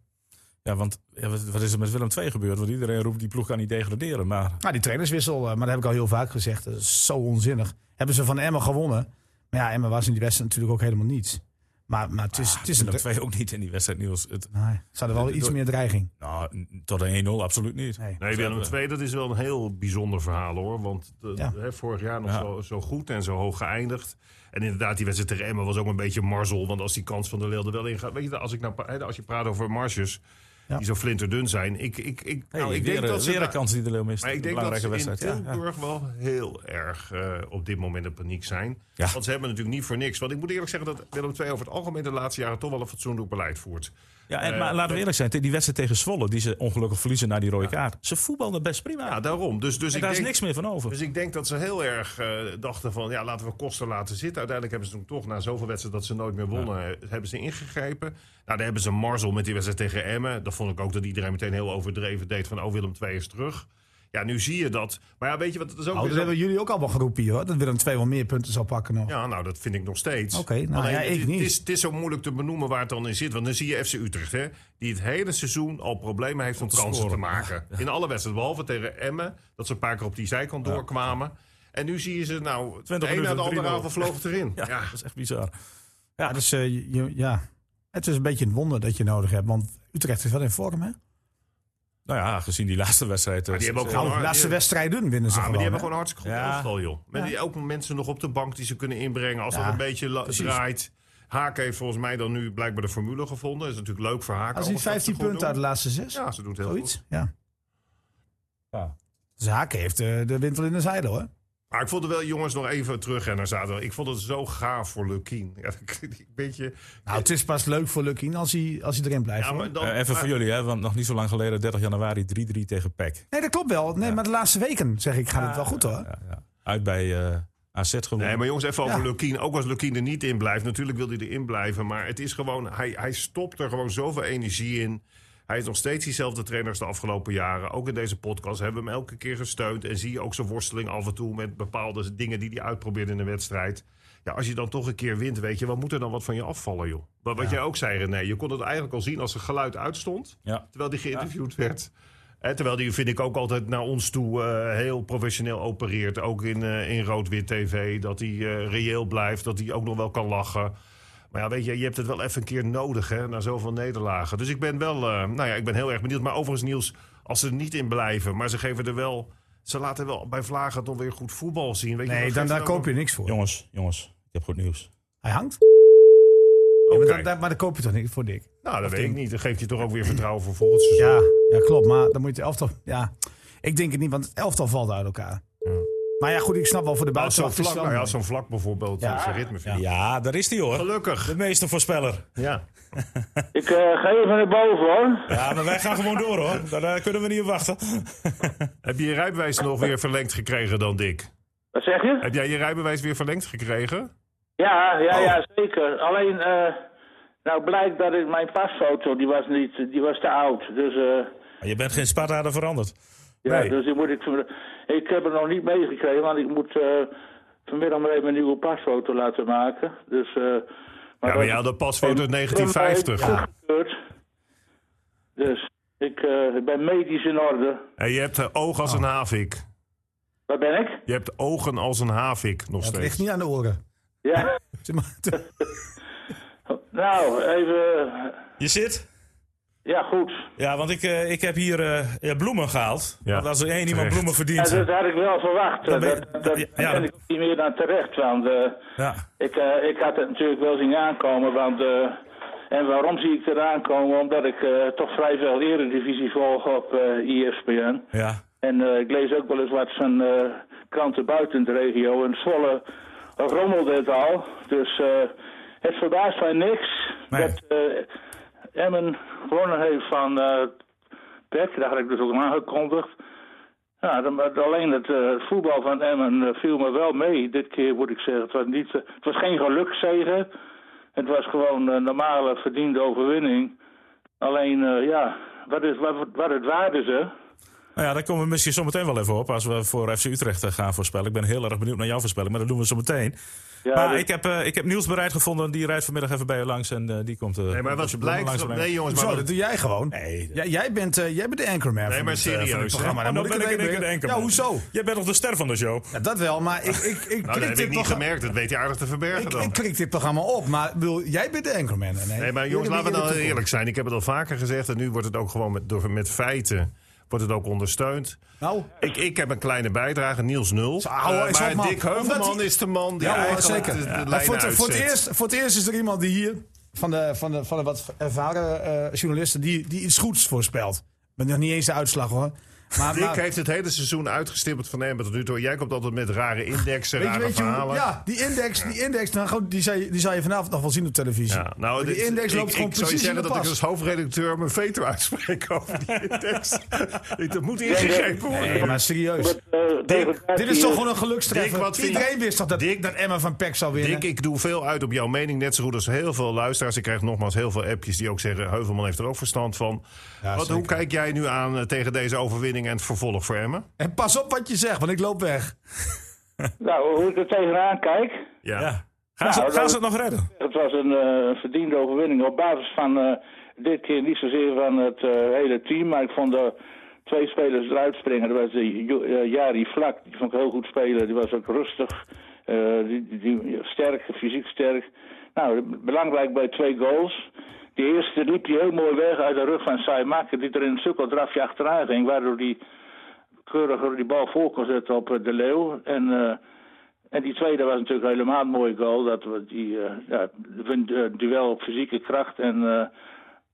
S2: Ja, want ja, wat, wat is er met Willem II gebeurd? Want iedereen roept die ploeg kan niet degraderen. Maar
S4: Nou, die trainerswissel, eh, maar dat heb ik al heel vaak gezegd. Dat is zo onzinnig. Hebben ze van Emmen gewonnen. Maar ja, Emmen was in die wedstrijd natuurlijk ook helemaal niets. Maar, maar het is, het is een...
S2: Willem II ook niet in die wedstrijd, Niels. Het,
S4: Nee, ze hadden wel iets meer dreiging.
S2: nou, n- tot een 1-0 absoluut niet.
S4: Nee. Oh,
S3: Nee, Willem II, dat is wel een heel bijzonder verhaal hoor. Want eh,
S4: Ja.
S3: hè, vorig jaar nog
S2: Ja.
S3: zo, zo goed en zo hoog geëindigd. En inderdaad, die wedstrijd tegen Emmen was ook een beetje marzel. Want als die kans van de Leeuw er wel in gaat... Weet je, als, ik nou, pa- hè, als je praat over marges
S4: Ja.
S3: die zo flinterdun zijn... Ik, ik, ik,
S2: Hey,
S3: nou, ik
S2: weer, eh,
S3: denk dat ze
S2: weer
S3: daar-
S2: een kans die de Leeuw mist.
S3: maar ik denk dat ze
S2: belangrijke
S3: in
S2: wedstrijd. ja.
S3: Tilburg wel heel erg eh, op dit moment in paniek zijn.
S2: Ja.
S3: Want ze hebben natuurlijk niet voor niks. Want ik moet eerlijk zeggen dat Willem II over het algemeen... de laatste jaren toch wel een fatsoenlijk beleid voert.
S2: Ja, en,
S3: Eh,
S2: maar laten we eerlijk zijn, die wedstrijd tegen Zwolle, die ze ongelukkig verliezen na die rode kaart. Ze voetbalden best prima.
S3: Ja, daarom. Dus, dus
S2: en
S3: ik
S2: daar is
S3: denk,
S2: niks meer van over.
S3: Dus ik denk dat ze heel erg eh, dachten van, ja, laten we kosten laten zitten. Uiteindelijk hebben ze toen toch, na zoveel wedstrijden dat ze nooit meer wonnen, eh, hebben ze ingegrepen. Nou, daar hebben ze Marzel met die wedstrijd tegen Emmen. Dat vond ik ook dat iedereen meteen heel overdreven deed van, oh, Willem II is terug. Ja, nu zie je dat. Maar ja, weet je wat, het is ook
S4: Oh,
S3: weer
S4: dat
S3: zo-
S4: hebben jullie ook allemaal geroepen hier, hoor. Dat Willem II wel meer punten zou pakken nog.
S3: Ja, nou, dat vind ik nog steeds.
S4: Oké, nou
S3: Alleen,
S4: ja,
S3: het-
S4: ik
S3: het,
S4: niet.
S3: is, het is zo moeilijk te benoemen waar het dan in zit. Want dan zie je FC Utrecht, hè, die het hele seizoen al problemen heeft om
S2: te
S3: kansen
S2: scoren.
S3: te maken. In alle wedstrijden, behalve tegen Emmen, dat ze een paar keer op die zijkant doorkwamen. En nu zie je ze, nou, de een na
S2: minuten,
S3: de andere
S2: 3-0.
S3: avond vloog het erin.
S2: Ja,
S3: Ja,
S2: dat is echt bizar.
S4: Ja, dus eh, je- ja, het is een beetje een wonder dat je nodig hebt. Want Utrecht is wel in vorm, hè?
S2: Nou ja, gezien die laatste wedstrijd.
S3: Maar die
S2: eh,
S3: hebben ook
S2: ze-
S3: gewoon-
S4: Nou, de laatste
S3: die-
S4: wedstrijden winnen ze
S3: Ah, maar die
S4: gewoon.
S3: hebben
S4: hè?
S3: gewoon een hartstikke goed
S2: Ja.
S3: elftal, joh. Met die ook mensen nog op de bank die ze kunnen inbrengen als
S4: Ja,
S3: het een beetje la- draait. Haak heeft volgens mij dan nu blijkbaar de formule gevonden. Dat is natuurlijk leuk voor Haak.
S4: Als niet
S3: alles wat ze
S4: 15
S3: goed
S4: punten
S3: doen.
S4: uit de laatste zes,
S3: Ja, ze doen het heel goed.
S4: zoiets. Ja.
S2: Ja.
S4: Dus Haken heeft eh, de wind wel in de zeil, hoor.
S3: Maar ik vond het wel, jongens, nog even terug en naar zaterdag. Ik vond het zo gaaf voor Lukien. Ja, ik- ik weet je.
S4: Nou, het is pas leuk voor Lucky als hij, als hij erin blijft.
S3: Ja,
S4: hoor.
S3: maar dan,
S2: eh, even voor jullie, hè, want nog niet zo lang geleden, 30 januari, 3-3 tegen E PEC.
S4: Nee, dat klopt wel. Nee, maar de laatste weken, zeg ik, gaat het wel goed, hoor.
S2: Ja, ja. Uit bij eh AZ gewonnen.
S3: Nee, maar jongens, even over
S4: Ja.
S3: Lukien. Ook als Lukien er niet in blijft. Natuurlijk wil hij erin blijven. Maar het is gewoon, hij, hij stopt er gewoon zoveel energie in. Hij is nog steeds diezelfde trainer als de afgelopen jaren. Ook in deze podcast hebben we hem elke keer gesteund. En zie je ook zijn worsteling af en toe met bepaalde dingen die hij uitprobeert in de wedstrijd. Ja, als je dan toch een keer wint, weet je, wat moet er dan wat van je afvallen, joh? Wat, wat jij ook zei, René. Je kon het eigenlijk al zien als het geluid uitstond.
S2: Ja.
S3: Terwijl die geïnterviewd werd. Eh, terwijl die, vind ik, ook altijd naar ons toe eh, heel professioneel opereert. Ook in, eh, in rood-wit tv. Dat hij eh, reëel blijft. Dat hij ook nog wel kan lachen. Maar ja, weet je, je hebt het wel even een keer nodig, hè. Na zoveel nederlagen. Dus ik ben wel, eh, nou ja, ik ben heel erg benieuwd. Maar overigens, Niels, als ze er niet in blijven. Maar ze geven er wel... Ze laten wel bij Vlagen toch weer goed voetbal zien. Weet je,
S4: Nee,
S3: dat
S4: dan,
S3: geeft
S4: daar
S3: dan
S4: koop je niks voor.
S2: Jongens, jongens, ik heb goed nieuws.
S4: Hij hangt.
S3: ook-
S4: Ja, maar,
S3: Oké.
S4: dan, daar, maar daar koop je toch niks voor, Dick?
S3: Nou, dat weet ik niet. Dan geeft je toch ook weer vertrouwen voor volgend seizoen.
S4: Ja, ja klopt. Maar dan moet je het elftal... Ja, ik denk het niet, want het elftal valt uit elkaar. Maar ja, goed, ik snap wel voor de
S3: Als zo'n
S4: buitenwacht. is
S3: vlak,
S4: het wel
S3: nou ja,
S4: mooi.
S3: als zo'n vlak bijvoorbeeld
S4: Ja.
S3: eh, zijn ritme vindt.
S2: Ja, daar is hij hoor.
S3: Gelukkig.
S2: De meeste voorspeller.
S3: Ja.
S8: Ik eh, ga even naar boven hoor.
S2: Ja, maar wij gaan gewoon door hoor. Daar eh, kunnen we niet op wachten.
S3: Heb je je rijbewijs nog weer verlengd gekregen dan, Dick?
S8: Wat zeg je?
S3: Heb jij je rijbewijs weer verlengd gekregen?
S8: Ja, ja,
S3: Oh.
S8: ja, zeker. Alleen, eh, nou blijkt dat ik mijn pasfoto, die was niet, die was te oud. Dus, eh,
S2: Maar je bent geen Sparta veranderd.
S8: ja,
S2: Nee.
S8: dus die moet ik, van- ik heb het nog niet meegekregen, want ik moet eh, vanmiddag maar even een nieuwe pasfoto laten maken. Dus, eh,
S3: Ja, maar
S8: dat-
S3: je had een pasfoto uit 1950.
S8: Ja. Dus, ik eh, ben medisch in orde.
S3: En je hebt eh, oog als een havik.
S8: Waar ben ik?
S3: Je hebt ogen als een havik nog
S4: Het
S3: steeds.
S4: ligt niet aan de oren.
S8: Ja.
S4: Zeg maar,
S8: nou, even...
S2: Je zit?
S8: Ja, goed.
S2: Ja, want ik, eh, ik heb hier eh, ja, bloemen gehaald.
S3: Ja,
S2: Want als er één iemand
S3: terecht.
S2: bloemen
S8: Ja,
S2: verdient.
S8: dat had ik wel verwacht.
S2: Dan
S8: Dat,
S2: ben je-
S8: dat, dat
S2: ja,
S8: daar
S2: ja,
S8: ben
S2: dat-
S8: ik ook niet meer aan terecht. Want eh,
S2: Ja.
S8: ik, eh, ik had het natuurlijk wel zien aankomen. Want eh, En waarom zie ik eraan komen? Omdat ik eh, toch vrij veel eredivisie volg op eh ESPN.
S2: Ja.
S8: En eh, ik lees ook wel eens wat van eh, kranten buiten de regio. En Zwolle rommelde het al. Dus eh, het verbaast mij niks
S2: Nee.
S8: dat eh, Emmen gewonnen heeft van eh PEC. Daar had ik dus ook aangekondigd. Ja, dan, maar alleen het eh, voetbal van Emmen eh, viel me wel mee. Dit keer moet ik zeggen. Het was, niet, eh, het was geen gelukzegen. Het was gewoon een normale verdiende overwinning. Alleen, eh, ja, wat, is, wat, wat het waarde ze.
S2: Nou ja, daar komen we misschien zometeen wel even op als we voor FC Utrecht eh, gaan voorspellen. Ik ben heel erg benieuwd naar jouw voorspelling, maar dat doen we zo meteen.
S8: Ja,
S2: maar
S8: dat-
S2: ik, heb, eh, ik heb Niels bereid gevonden, die rijdt vanmiddag even bij je langs en eh, die komt... eh,
S3: Nee, maar
S2: met
S3: wat
S2: zijn bloemen
S3: blijkt...
S2: langs
S3: Nee, jongens, maar...
S4: Zo,
S3: wat-
S4: dat doe jij gewoon. Nee. Ja, jij, brengt, eh, jij bent de anchorman
S3: Nee,
S4: van
S3: maar
S4: dit, eh, van dit
S3: serieus, hè?
S4: programma. Dan
S2: Oh,
S4: moet ik
S2: ben
S4: het
S2: ik in één keer de
S4: inbrengen.
S2: enkel.
S4: Ja, hoezo?
S2: Jij bent nog de ster van de show.
S4: Ja, dat wel, maar ik, ik, ik
S3: Nou, dat
S4: klik
S3: heb ik
S4: dit
S3: niet
S4: programma-
S3: gemerkt. Dat weet hij aardig te verbergen
S4: Ik,
S3: dan.
S4: ik klik dit programma op, maar ik bedoel, jij bent de anchorman. Nee,
S3: Nee, maar jongens,
S4: Jullie
S3: laten we
S4: hebben
S3: nou
S4: hier
S3: eerlijk zijn. Ik heb het al vaker gezegd en nu wordt het ook gewoon met, door, met feiten wordt het ook ondersteund.
S4: de toekomst. Nou,
S3: Ik, ik heb een kleine bijdrage, Niels Nul.
S4: Zo, hou
S3: Eh,
S4: eens op,
S3: maar
S4: man.
S3: Dick
S4: Omdat
S3: Heuvelman
S4: die-
S3: is de man die
S4: ja, hoor,
S3: eigenlijk
S4: zeker.
S3: de, de
S4: Ja,
S3: lijnen
S4: voor, het, voor, het
S3: uitzet.
S4: eerst, voor het eerst is er iemand die hier, van de, van de, van de wat ervaren eh, journalisten, die, die iets goeds voorspelt. Met nog niet eens de uitslag hoor. Maar,
S3: Dick
S4: maar,
S3: heeft het hele seizoen uitgestippeld van hem tot nu toe. Jij komt altijd met rare indexen,
S4: weet je,
S3: rare
S4: weet je hoe-
S3: verhalen.
S4: ja, die index, die index nou, goed, die, zou je, die zou je vanavond nog wel zien op televisie.
S3: Ja, nou,
S4: Maar die
S3: dit-
S4: index loopt
S3: ik,
S4: gewoon
S3: ik zou je
S4: precies in
S3: zeggen
S4: de
S3: dat ik
S4: pas.
S3: als hoofdredacteur mijn veto uitspreek over die index. Ik- dat moet ingegrepen worden.
S4: Nee, maar serieus.
S8: eh, degradatie
S4: Dit is toch gewoon een gelukstreffer.
S3: Dick, wat vind-
S4: Iedereen wist toch dat,
S3: Dick-
S4: dat Emma van Peck zou winnen?
S3: Dick, ik doe veel uit op jouw mening. Net zo goed als heel veel luisteraars. Ik krijg nogmaals heel veel appjes die ook zeggen... Heuvelman heeft er ook verstand van. Wat, hoe kijk jij nu aan eh, tegen deze overwinning en het vervolg voor Emmen?
S4: En pas op wat je zegt, want ik loop weg.
S8: Nou, hoe ik er tegenaan kijk.
S3: Ja.
S2: Ja. Gaan, ze,
S8: Nou,
S2: gaan
S8: dat-
S2: ze het nog redden?
S8: Het was een eh, verdiende overwinning op basis van eh, dit keer niet zozeer van het eh, hele team. Maar ik vond er twee spelers eruit springen. Dat was die Jo- eh, Jari Vlak, die vond ik heel goed spelen. Die was ook rustig, eh, die, die, die- sterk, fysiek sterk. Nou, belangrijk bij twee goals. De eerste liep hij heel mooi weg uit de rug van Saimaker, die er in een sukkeldrafje achteraan ging. Waardoor die keuriger die bal voor kon zetten op eh, De Leeuw. En... eh, en die tweede was natuurlijk helemaal een mooie goal. Dat we die eh, ja, wint eh, duel op fysieke kracht en eh,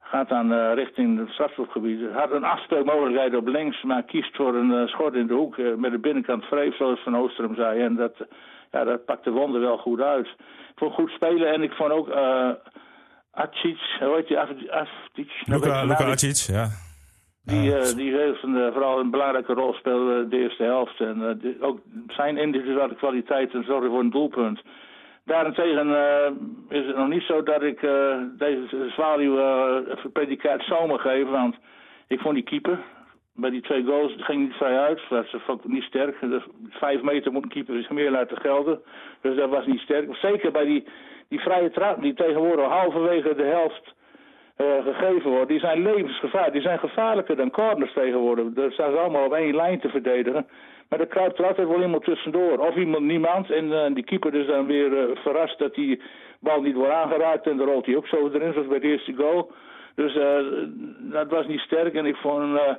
S8: gaat dan eh, richting het strafschopgebied. Had een afspeelmogelijkheid op links, maar kiest voor een eh, schot in de hoek eh, met de binnenkant vreef, zoals Van Oostrum zei. En dat, ja, dat pakte Wonder wel goed uit. Ik vond goed spelen en ik vond ook eh Atsic, hoe heet die? Af- Aftic? Nou, weet
S2: Luca,
S8: je
S2: Luca
S8: naam
S2: Acic, ja.
S8: die, eh, die heeft een, eh, vooral een belangrijke rol speelde de eerste helft. En eh, de- ook zijn individuele kwaliteiten zorgen voor een doelpunt. Daarentegen eh, is het nog niet zo dat ik eh, deze zwaluw eh, het predicaat zomer geef. Want ik vond die keeper bij die twee goals het ging niet vrij uit. Dat ze vond ik niet sterk. Dus vijf meter moet een keeper zich meer laten gelden. Dus dat was niet sterk. Zeker bij die, die vrije trap die tegenwoordig halverwege de helft eh, gegeven worden, die zijn levensgevaarlijk. Die zijn gevaarlijker dan corners tegenwoordig. Daar staan ze allemaal op één lijn te verdedigen. Maar er kruipt er altijd wel iemand tussendoor. Of iemand, niemand. En eh, die keeper is dan weer eh, verrast dat die bal niet wordt aangeraakt. En dan rolt hij ook zo erin, zoals bij de eerste goal. Dus eh, dat was niet sterk. En ik vond, eh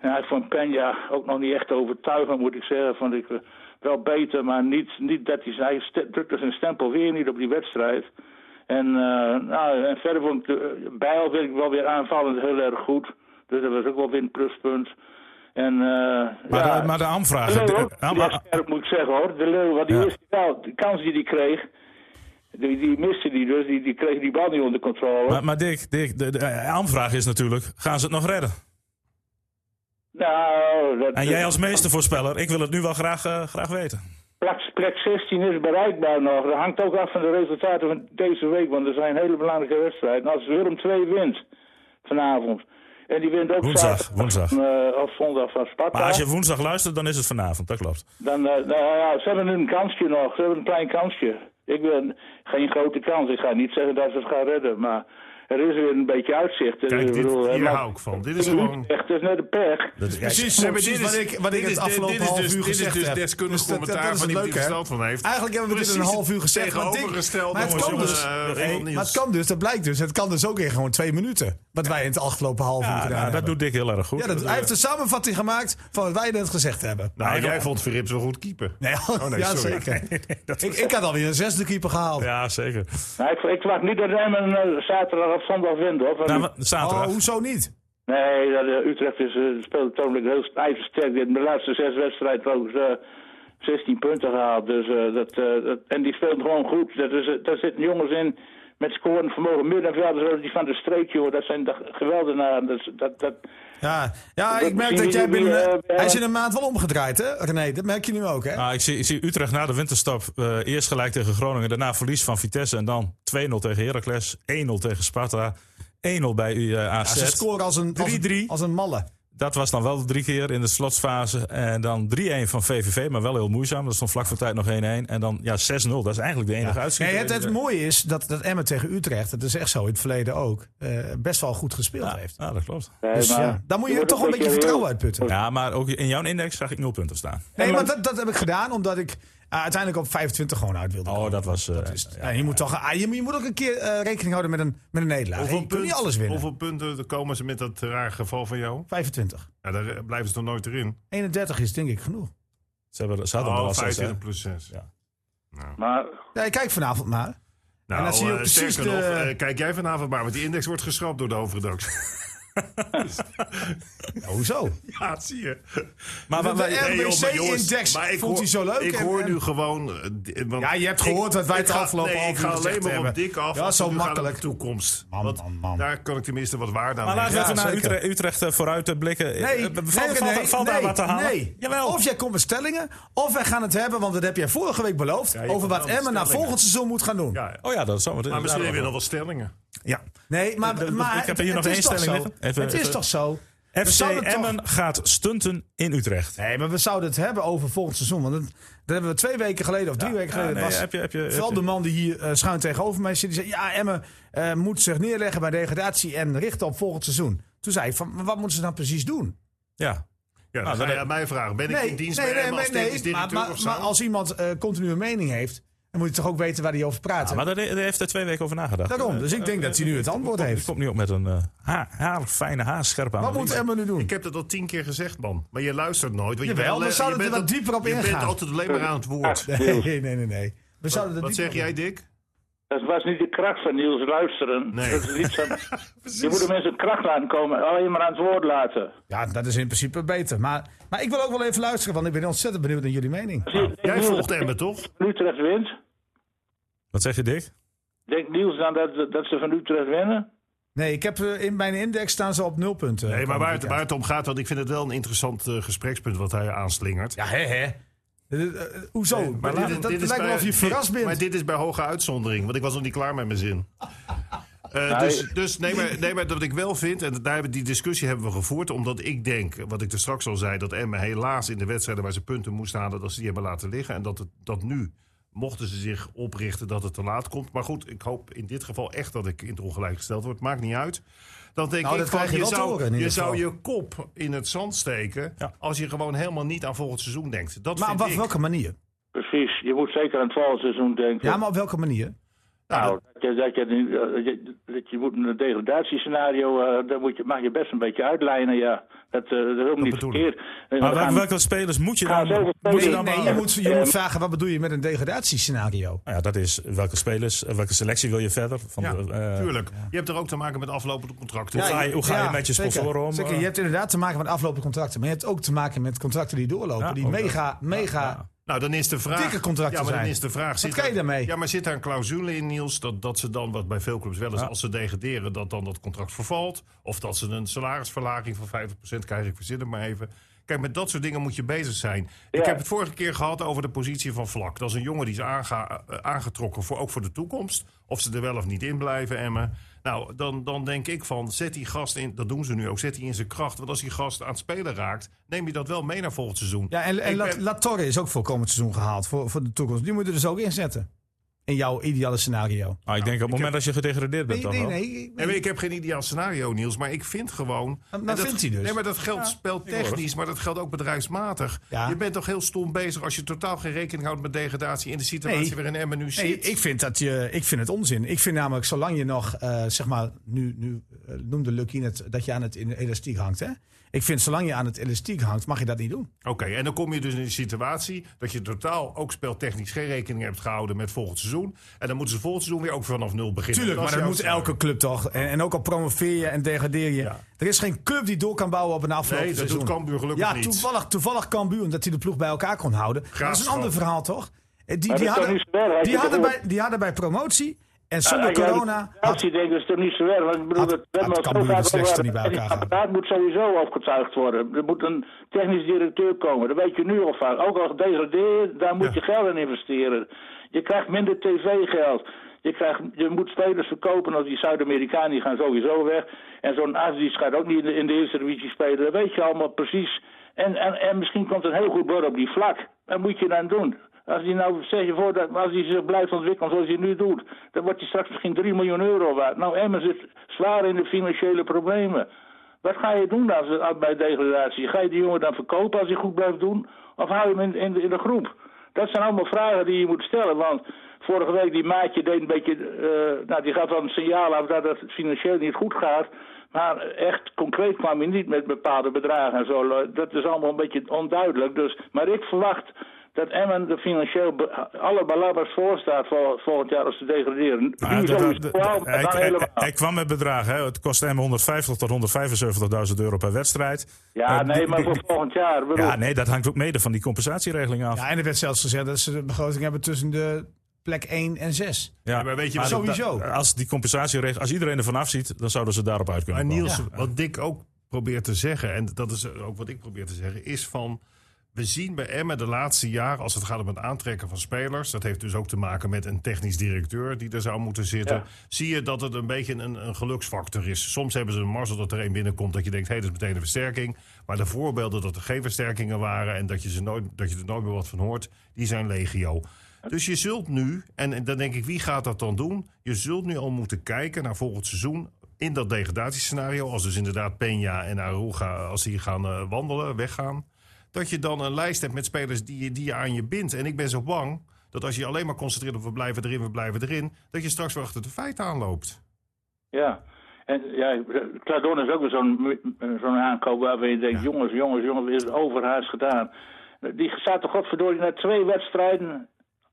S8: ja, ik vond Peña ook nog niet echt overtuigend, moet ik zeggen. Vond ik eh, wel beter, maar niet, niet dat hij, hij st- drukte zijn stempel weer niet op die wedstrijd. En, eh, nou, en verder vond ik de Bijl vind ik wel weer aanvallend heel erg goed. Dus dat was ook wel weer een pluspunt. En, eh,
S2: Maar,
S8: ja,
S2: de, maar de aanvraag...
S8: de
S2: de-
S8: Leeuw ook
S2: de-
S8: heel erg scherp, moet ik zeggen hoor. De Leeuw, want die
S2: Ja.
S8: eerste bal, de kans die hij kreeg, die, die miste die dus. Die, die kreeg die bal niet onder controle.
S2: maar, maar Dick, Dick de, de, eh, aanvraag is natuurlijk, gaan ze het nog redden?
S8: nou, dat,
S2: En jij als meestervoorspeller, ik wil het nu wel graag, eh, graag weten.
S8: Plek, plek 16 is bereikbaar nog. Dat hangt ook af van de resultaten van deze week. Want er zijn hele belangrijke wedstrijden. En Als Willem 2 wint vanavond. En die wint ook
S2: Woensdag,
S8: zaterdag,
S2: woensdag.
S8: eh, of zondag van Sparta.
S2: Maar als je woensdag luistert, dan is het vanavond, dat klopt.
S8: Dan, eh, nou ja, ze hebben een kansje nog. Ze hebben een klein kansje. Ik ben geen grote kans. Ik ga niet zeggen dat ze het gaan redden. Maar er is weer een beetje uitzicht.
S3: Kijk,
S8: ik
S3: dit,
S8: bedoel, eh,
S3: hier
S8: maar-
S3: hou ik van. Dit is gewoon...
S8: Echt, dat is net een pech.
S4: Precies,
S3: Nee, maar
S4: precies
S3: dit
S4: wat
S3: is-
S4: ik, wat
S3: dit
S4: ik het
S3: is-
S4: afgelopen
S3: dit is
S4: half
S3: dus-
S4: uur gezegd heb.
S3: Dit is dus deskundig
S4: Dus dat- dat
S3: commentaar
S4: is
S3: van
S4: het
S3: iemand die
S4: leuke,
S3: er
S4: hè?
S3: verstand van heeft.
S4: Eigenlijk hebben we dit in een
S3: Precies
S4: half uur gezegd. Maar, Dick-
S3: tegenovergestelde,
S4: maar het kan
S3: jongens,
S4: dus.
S3: eh,
S4: Nee,
S3: Ronald
S4: maar het
S3: Niels.
S4: kan dus, dat blijkt dus. Het kan dus ook in gewoon twee minuten. Wat wij in het afgelopen half uur
S2: Ja,
S4: gedaan
S2: nou, dat
S4: hebben.
S2: doet Dick heel erg goed.
S4: ja, dat, hij heeft een samenvatting gemaakt van wat wij net gezegd hebben.
S3: Nou, jij vond Verrips wel goed keeper.
S4: Nee,
S3: nee,
S4: ja,
S3: sorry.
S4: zeker. ik, ik had alweer een zesde keeper gehaald.
S2: Ja, zeker.
S8: Nou, ik, ik verwacht niet dat Emmen eh, zaterdag of zondag wint, hoor. Want-
S2: Nou, maar zaterdag.
S4: Oh, hoezo niet?
S8: Nee, dat, eh, Utrecht is, eh, speelt tamelijk heel ijzersterk. Die hebben de laatste zes wedstrijden trouwens eh, 16 punten gehaald. Dus, eh, dat, eh, dat, en die speelt gewoon goed. Dat is, eh, daar zitten jongens in met scoren vermogen. Middenvelders, eh, die van de streek, joh. Dat zijn de geweldenaren. Dat, is- dat, dat,
S4: Ja, ja ik merk
S8: Wie-
S4: dat jij
S8: wie- wie,
S4: binnen...
S8: eh,
S4: Hij is in een maand wel omgedraaid, hè? René, dat merk je nu ook, hè?
S3: Ah,
S2: Nou, ik, zie, ik zie Utrecht na de winterstap eh, eerst gelijk tegen Groningen. Daarna verlies van Vitesse. En dan 2-0 tegen Heracles. 1-0 tegen Sparta. 1-0 bij eh
S4: Ja,
S2: AZ.
S4: ze scoren als een, als, een,
S2: 3-3.
S4: als een malle.
S2: Dat was dan wel drie keer in de slotsfase. En dan 3-1 van VVV, maar wel heel moeizaam. Dat stond vlak voor tijd nog 1-1. En dan ja, 6-0. Dat is eigenlijk de enige uitschieter.
S4: Nee, het, het mooie is dat, dat Emmen tegen Utrecht, dat is echt zo in het verleden ook, eh, best wel goed gespeeld
S2: ja,
S4: heeft.
S2: ja, Ah, dat klopt.
S8: nee,
S4: Dus
S8: maar-
S4: ja, daar moet je
S8: wordt
S4: toch
S8: ook
S4: een beetje
S8: heel-
S4: vertrouwen uitputten.
S2: Ja, maar ook in jouw index zag ik nul punten staan.
S4: Nee, maar dat, dat heb ik gedaan omdat ik ah, uiteindelijk op 25 gewoon uit wilde.
S2: Oh, dat was... eh, ja.
S4: Ja, je, moet toch, ah, je, je moet ook een keer eh, rekening houden met een, met een nederlaag.
S3: Hoeveel
S4: je kunt niet alles winnen.
S3: Hoeveel punten komen ze met dat raar geval van jou?
S4: 25.
S3: Ja, daar eh, blijven ze toch nooit erin?
S4: 31 is denk ik genoeg.
S2: Ze, hebben, ze hadden er
S3: Oh,
S2: al zes, hè.
S3: 25 plus 6.
S2: Ja.
S8: Maar
S4: Ja, ik kijk vanavond maar.
S3: Nou,
S4: En dan zie je
S3: eh,
S4: ook precies
S3: sterker nog,
S4: de-
S3: eh, kijk jij vanavond maar, want die index wordt geschrapt door de hoofdredactie.
S4: Ja, hoezo?
S3: ja, dat zie je.
S2: Maar
S4: De-
S2: wa-
S4: de
S2: wa-
S4: RBC
S3: Nee, joh, maar jongens,
S4: index
S3: maar ik
S4: vond hij zo
S3: hoor-
S4: leuk.
S3: Ik
S4: en-
S3: hoor
S4: en-
S3: nu gewoon... eh, d- want
S4: Ja, je hebt
S3: ik-
S4: gehopen dat wij
S3: ik
S4: het
S3: ga-
S4: afgelopen
S3: nee,
S4: half
S3: ik
S4: uur
S3: ga
S4: gezegd
S3: alleen maar op
S4: hebben.
S3: dik af.
S4: Ja,
S3: als
S4: zo
S3: het nu gaat om
S4: makkelijk.
S3: de toekomst.
S4: Man,
S3: Want
S4: man, man.
S3: Daar kan ik tenminste wat waarde aan
S2: Maar laten we
S3: hechten.
S2: even
S4: Ja,
S2: naar
S4: zeker.
S2: Utrecht, Utrecht, eh, vooruit eh, blikken.
S4: Nee,
S2: Eh,
S4: nee,
S2: valt valt-
S4: nee,
S2: valt daar
S4: nee,
S2: wat te halen?
S4: nee.
S2: Jawel.
S4: Of jij komt met stellingen, of wij gaan het hebben, want dat heb jij vorige week beloofd,
S3: je
S4: over
S3: komt
S4: wat
S3: wel met
S4: Emmen na
S3: stellingen.
S4: volgend seizoen moet gaan doen. Ja.
S3: Ja,
S2: Oh ja, dat is zo.
S3: maar misschien hebben we nog wel stellingen.
S4: Nee, maar,
S2: De- de-
S4: maar
S2: ik heb hier
S4: het
S2: nog
S4: is
S2: één
S4: toch
S2: stelling
S4: zo.
S2: liggen. Even-
S4: het is
S2: even-
S4: toch zo. We
S2: FC
S4: zouden het toch-
S2: Emmen gaat stunten in Utrecht.
S4: Nee, maar we zouden het hebben over volgend seizoen. Want dat, dat hebben we twee weken geleden of drie weken
S2: Ja,
S4: geleden.
S2: nee,
S4: was
S2: heb je, heb je,
S4: vooral
S2: heb
S4: de
S2: je-
S4: man die hier eh, schuin tegenover mij zit. Die zei, ja, Emmen eh, moet zich neerleggen bij degradatie en richten op volgend seizoen. Toen zei ik, van, maar wat moeten ze nou precies doen?
S2: Ja.
S3: Ja,
S2: Nou,
S3: dan ga
S2: dat-
S3: je aan mij vragen. Ben ik in dienst bij hem
S4: maar-
S3: als technisch
S4: maar-
S3: directeur
S4: maar,
S3: of zo?
S4: maar als iemand eh, continu een mening heeft, dan moet je toch ook weten waar hij over praat.
S2: Ja, maar daar, daar heeft hij twee weken over nagedacht.
S4: Daarom, dus ik denk dat hij nu het antwoord
S2: Hij
S4: heeft.
S2: komt nu op met een eh, haar, haar, fijne haar, scherp aan.
S4: Wat moet Emma nu doen?
S3: Ik heb dat al tien keer gezegd, man. Maar je luistert nooit. Want
S4: Jawel,
S3: je bent,
S4: we
S3: le-
S4: zouden
S3: je
S4: er
S3: bent
S4: wat
S3: al-
S4: dieper op
S3: Je bent
S4: ingaan.
S3: altijd alleen maar aan het woord.
S4: Nee, nee, nee, nee. We zouden dat
S3: Wat
S4: niet
S3: zeg
S4: doen.
S3: jij, Dick?
S8: dat was niet de kracht van Niels luisteren.
S3: Nee.
S8: Dat is iets van, je moet de mensen kracht laten komen. Alleen maar aan het woord laten.
S4: Ja, dat is in principe beter. Maar, maar ik wil ook wel even luisteren, want ik ben ontzettend benieuwd naar jullie mening.
S8: Als je- denk
S3: Jij
S8: Niels
S3: volgt Emmen, toch?
S8: van Utrecht wint.
S2: Wat zeg je, Dick?
S8: Denkt Niels dan dat, dat ze van Utrecht winnen?
S4: Nee, ik heb eh, in mijn index staan ze op nul punten. eh,
S3: Nee, maar waar het,
S4: Komend
S3: waar het om gaat, want ik vind het wel een interessant eh, gesprekspunt wat hij aanslingert.
S4: weekend. Ja, hè, hè. Eh, eh, hoezo?
S3: Oh, Maar
S4: dat
S3: dit-
S4: dat
S3: dit is
S4: lijkt wel
S3: bij-
S4: of je verrast bent.
S3: Maar dit is bij hoge uitzondering, want ik was nog niet klaar met mijn zin. Eh, dus dus nee, maar, nee, maar dat ik wel vind, en daar hebben, die discussie hebben we gevoerd, omdat ik denk, wat ik er straks al zei, dat Emmen helaas in de wedstrijden waar ze punten moesten halen, dat ze die hebben laten liggen. En dat, het, dat nu, mochten ze zich oprichten, dat het te laat komt. Maar goed, ik hoop in dit geval echt dat ik in het ongelijk gesteld word. Maakt niet uit. Dan denk
S4: Nou,
S3: ik,
S4: dat
S3: van,
S4: krijg je
S3: je,
S4: wel te horen in
S3: zou, je
S4: ieder
S3: zou
S4: geval.
S3: je kop in het zand steken
S2: Ja.
S3: als je gewoon helemaal niet aan volgend seizoen denkt. Dat
S4: maar
S3: vind
S4: op wat-
S3: ik.
S4: welke manier?
S8: Precies, je moet zeker aan het valseizoen denken.
S4: Ja, maar op welke manier?
S8: Nou, dat je, dat je, eh, dat je, dat je moet een degradatiescenario, eh daar moet je, mag je best een beetje uitlijnen, ja. Dat, eh, dat is ook niet
S3: bedoel ik.
S8: verkeerd. En
S2: Maar
S8: we gaan-
S2: welke, welke spelers moet je
S8: gaan
S2: dan...
S8: zoveel
S2: moet je
S8: spelers-
S2: dan
S4: Nee, je Ehm,
S2: behalen?
S4: moet, je moet vragen, wat bedoel je met een degradatiescenario?
S2: Nou ja, dat is eh, welke spelers, eh, welke selectie wil je verder? Van,
S3: Ja,
S2: de, eh,
S3: Tuurlijk. Je hebt er ook te maken met aflopende contracten.
S2: Hoe
S3: Ja,
S2: ga je, hoe ga je met je
S4: zeker.
S2: sponsoren om?
S4: Zeker,
S2: Eh,
S4: je hebt inderdaad te maken met aflopende contracten. Maar je hebt ook te maken met contracten die doorlopen.
S2: Ja,
S4: die
S2: ook dat.
S4: mega, mega...
S3: Nou, dan is de vraag.
S4: Dikke contracten
S3: ja, maar dan
S4: zijn.
S3: is de vraag. zit
S4: kan je
S3: daar-
S4: daarmee?
S3: Ja, maar zit daar een clausule in, Niels? Dat, dat ze dan, wat bij veel clubs wel eens,
S2: Ja.
S3: als ze degraderen, dat dan dat contract vervalt. Of dat ze een salarisverlaging van 50% krijgen. Ik verzin het maar even. Kijk, met dat soort dingen moet je bezig zijn. Ik
S8: Ja.
S3: heb het vorige keer gehad over de positie van Vlak. Dat is een jongen die is aanga- eh, aangetrokken, voor, ook voor de toekomst. Of ze er wel of niet in blijven, Emmen. Nou, dan, dan denk ik van, zet die gast in, dat doen ze nu ook, zet die in zijn kracht. Want als die gast aan het spelen raakt, neem je dat wel mee naar volgend seizoen.
S4: Ja, en, en
S3: Ik
S4: La-
S3: ben-
S4: Latorre is ook voor komend seizoen gehaald. Voor, voor de toekomst. Die moeten we dus ook inzetten. in jouw ideale scenario?
S2: Ah, ik denk op het moment dat je gedegradeerd bent dan wel.
S4: nee.
S3: Nee, maar ik heb geen ideaal scenario, Niels. Maar ik vind gewoon.
S4: Nou,
S3: en dat-
S4: vindt hij dus.
S3: Nee, maar dat geldt speltechnisch, maar dat geldt ook bedrijfsmatig.
S4: Ja.
S3: Je bent toch heel stom bezig als je totaal geen rekening houdt met degradatie in de situatie
S4: Nee.
S3: waarin Emmen nu zit.
S4: Nee, ik vind, dat je, ik vind het onzin. Ik vind namelijk, zolang je nog, eh, zeg maar, nu, nu eh, noemde Lucky het, dat je aan het in- elastiek hangt. Hè? Ik vind, zolang je aan het elastiek hangt, mag je dat niet doen.
S3: Oké, en dan kom je dus in een situatie dat je totaal ook speltechnisch geen rekening hebt gehouden met volgend seizoen. En dan moeten ze volgend seizoen weer ook vanaf nul beginnen.
S4: Tuurlijk, maar
S3: is
S4: dat moet
S3: jouw
S4: elke club toch. En, en ook al promoveer je en degradeer je.
S3: Ja.
S4: Er is geen club die door kan bouwen op een
S3: scenario.
S4: afgelopen
S3: Nee, dat
S4: seizoen.
S3: doet Cambuur gelukkig
S4: ja,
S3: niet.
S4: toevallig, toevallig Cambuur, omdat hij de ploeg bij elkaar kon houden. dat is een
S3: Graafschap.
S4: ander verhaal, toch? Eh, Die,
S8: Maar
S4: die,
S8: dat is toch
S4: hadden,
S8: niet zo erg? Hij
S4: die,
S8: zit
S4: hadden
S8: toch
S4: bij, die hadden bij promotie en zonder corona...
S8: Ja,
S4: had-
S8: actie denk ik is toch niet zo erg. Want ik bedoel,
S4: Had-
S8: dat
S4: had Cambuur de slechtste niet bij elkaar
S8: Het apparaat moet sowieso opgetuigd worden. Er moet een technisch directeur komen. Dat weet je nu al vaak. Ook al gedegradeerd, daar moet je geld in investeren. Je krijgt minder tv-geld. Je, krijgt, je moet spelers verkopen, want die Zuid-Amerikanen die gaan sowieso weg. En zo'n Aziz gaat ook niet in de, in de eerste divisie spelen. Dat weet je allemaal precies. En, en, en misschien komt een heel goed bord op die vlak. Wat moet je dan doen? Als hij nou, zeg je voor, dat, als hij zich blijft ontwikkelen zoals hij nu doet, dan wordt hij straks misschien 3 miljoen euro waard. Nou, Emmen zit zwaar in de financiële problemen. Wat ga je doen als, als bij degradatie? Ga je die jongen dan verkopen als hij goed blijft doen? Of hou je hem in, in, de- in de groep? Dat zijn allemaal vragen die je moet stellen, want vorige week die maatje deed een beetje, eh, nou die gaf wel een signaal af dat het financieel niet goed gaat. Maar echt concreet kwam hij niet met bepaalde bedragen en zo. Dat is allemaal een beetje onduidelijk. Dus, maar ik verwacht dat Emmen er financieel be- alle balabbers voor staat voor volgend jaar als ze degraderen.
S2: Maar
S8: Nu
S2: dat-
S8: sowieso
S2: dat-
S8: wel,
S2: dat-
S8: maar
S2: hij,
S8: dan
S2: hij-
S8: helemaal.
S2: hij kwam met bedragen. Hè. Het kost hem 150 tot 175.000 euro per wedstrijd.
S8: Ja,
S2: Eh,
S8: nee,
S2: die-
S8: maar
S2: die-
S8: voor volgend jaar. Bedoel,
S2: ja, nee, dat hangt ook mede van die compensatieregeling af.
S4: Ja, en er werd zelfs gezegd dat ze de begroting hebben tussen de plek 1 en 6.
S2: Ja,
S3: maar weet je wat-
S4: Sowieso.
S2: als die compensatieregeling, als iedereen ervan afziet, dan zouden ze daarop uit kunnen
S3: Maar
S2: komen.
S3: Niels, wat Dick ook probeert te zeggen, en dat is ook wat ik probeer te zeggen, is van. We zien bij Emmen de laatste jaren, als het gaat om het aantrekken van spelers... dat heeft dus ook te maken met een technisch directeur die er zou moeten zitten...
S8: Ja.
S3: zie je dat het een beetje een, een geluksfactor is. Soms hebben ze een mazzel dat er één binnenkomt dat je denkt... hé, dat is meteen een versterking. Maar de voorbeelden dat er geen versterkingen waren... en dat je, ze nooit, dat je er nooit meer wat van hoort, die zijn legio. Dus je zult nu, en, en dan denk ik, wie gaat dat dan doen? Je zult nu al moeten kijken naar volgend seizoen... in dat degradatiescenario, als dus inderdaad Peña en Aruga... als die gaan eh, wandelen, weggaan dat je dan een lijst hebt met spelers die je, die je aan je bindt. En ik ben zo bang dat als je je alleen maar concentreert op we blijven erin, we blijven erin, dat je straks weer achter de feiten aanloopt.
S8: Ja. En ja, Cladon is ook weer zo'n eh, zo'n aankoop waarbij je denkt, jongens, jongens, jongens, is het overhaast gedaan. Die staat toch godverdorie na twee wedstrijden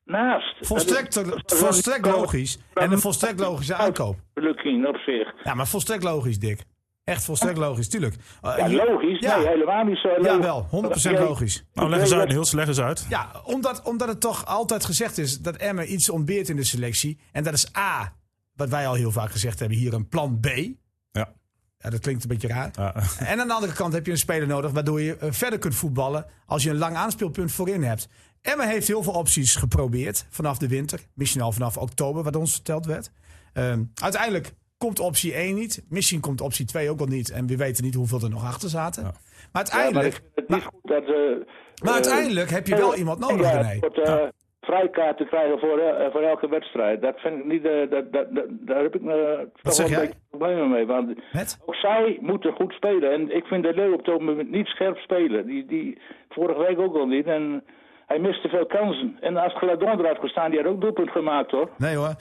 S8: naast.
S4: Volstrekt, eh,
S8: Dat is- dat is wel
S4: volstrekt
S8: niet-
S4: logisch. En een volstrekt logische aankoop.
S8: Lukking op zich.
S4: Ja, maar volstrekt logisch, Dick. Echt volstrekt logisch, tuurlijk. Eh,
S8: Ja,
S4: hier-
S8: logisch?
S4: Ja,
S8: Nee, helemaal niet zo. logisch.
S4: Jawel, 100% logisch.
S2: nou, leg eens uit, Niels, leg eens uit.
S4: Ja, omdat, omdat het toch altijd gezegd is dat Emmen iets ontbeert in de selectie. En dat is A, wat wij al heel vaak gezegd hebben, hier een plan B.
S2: Ja.
S4: Ja, dat klinkt een beetje raar.
S2: Ja.
S4: En aan de andere kant heb je een speler nodig waardoor je eh, verder kunt voetballen als je een lang aanspeelpunt voorin hebt. Emma heeft heel veel opties geprobeerd vanaf de winter. Misschien al vanaf oktober, wat ons verteld werd. Ehm, uiteindelijk komt optie 1 niet. Misschien komt optie 2 ook al niet. En we weten niet hoeveel er nog achter zaten. Maar
S8: Ja, maar ik
S4: uiteindelijk,
S8: vind het niet
S4: maar,
S8: goed dat... eh,
S4: maar
S8: eh,
S4: uiteindelijk heb je wel iemand nodig,
S8: Ja,
S4: René. Nou.
S8: Tot, eh, Vrijkaart te krijgen voor, el- eh, voor elke wedstrijd. Dat vind ik niet, eh, dat, dat, dat- daar heb ik eh, toch
S4: zeg
S8: wel een
S4: jij?
S8: beetje problemen mee. Want
S4: Met?
S8: ook zij moeten goed spelen. En ik vind de Leeuw op het moment niet scherp spelen. Die, die vorige week ook al niet. En hij miste veel kansen. En als Gladon eruit kon staan, die had ook doelpunt gemaakt hoor.
S4: Nee hoor.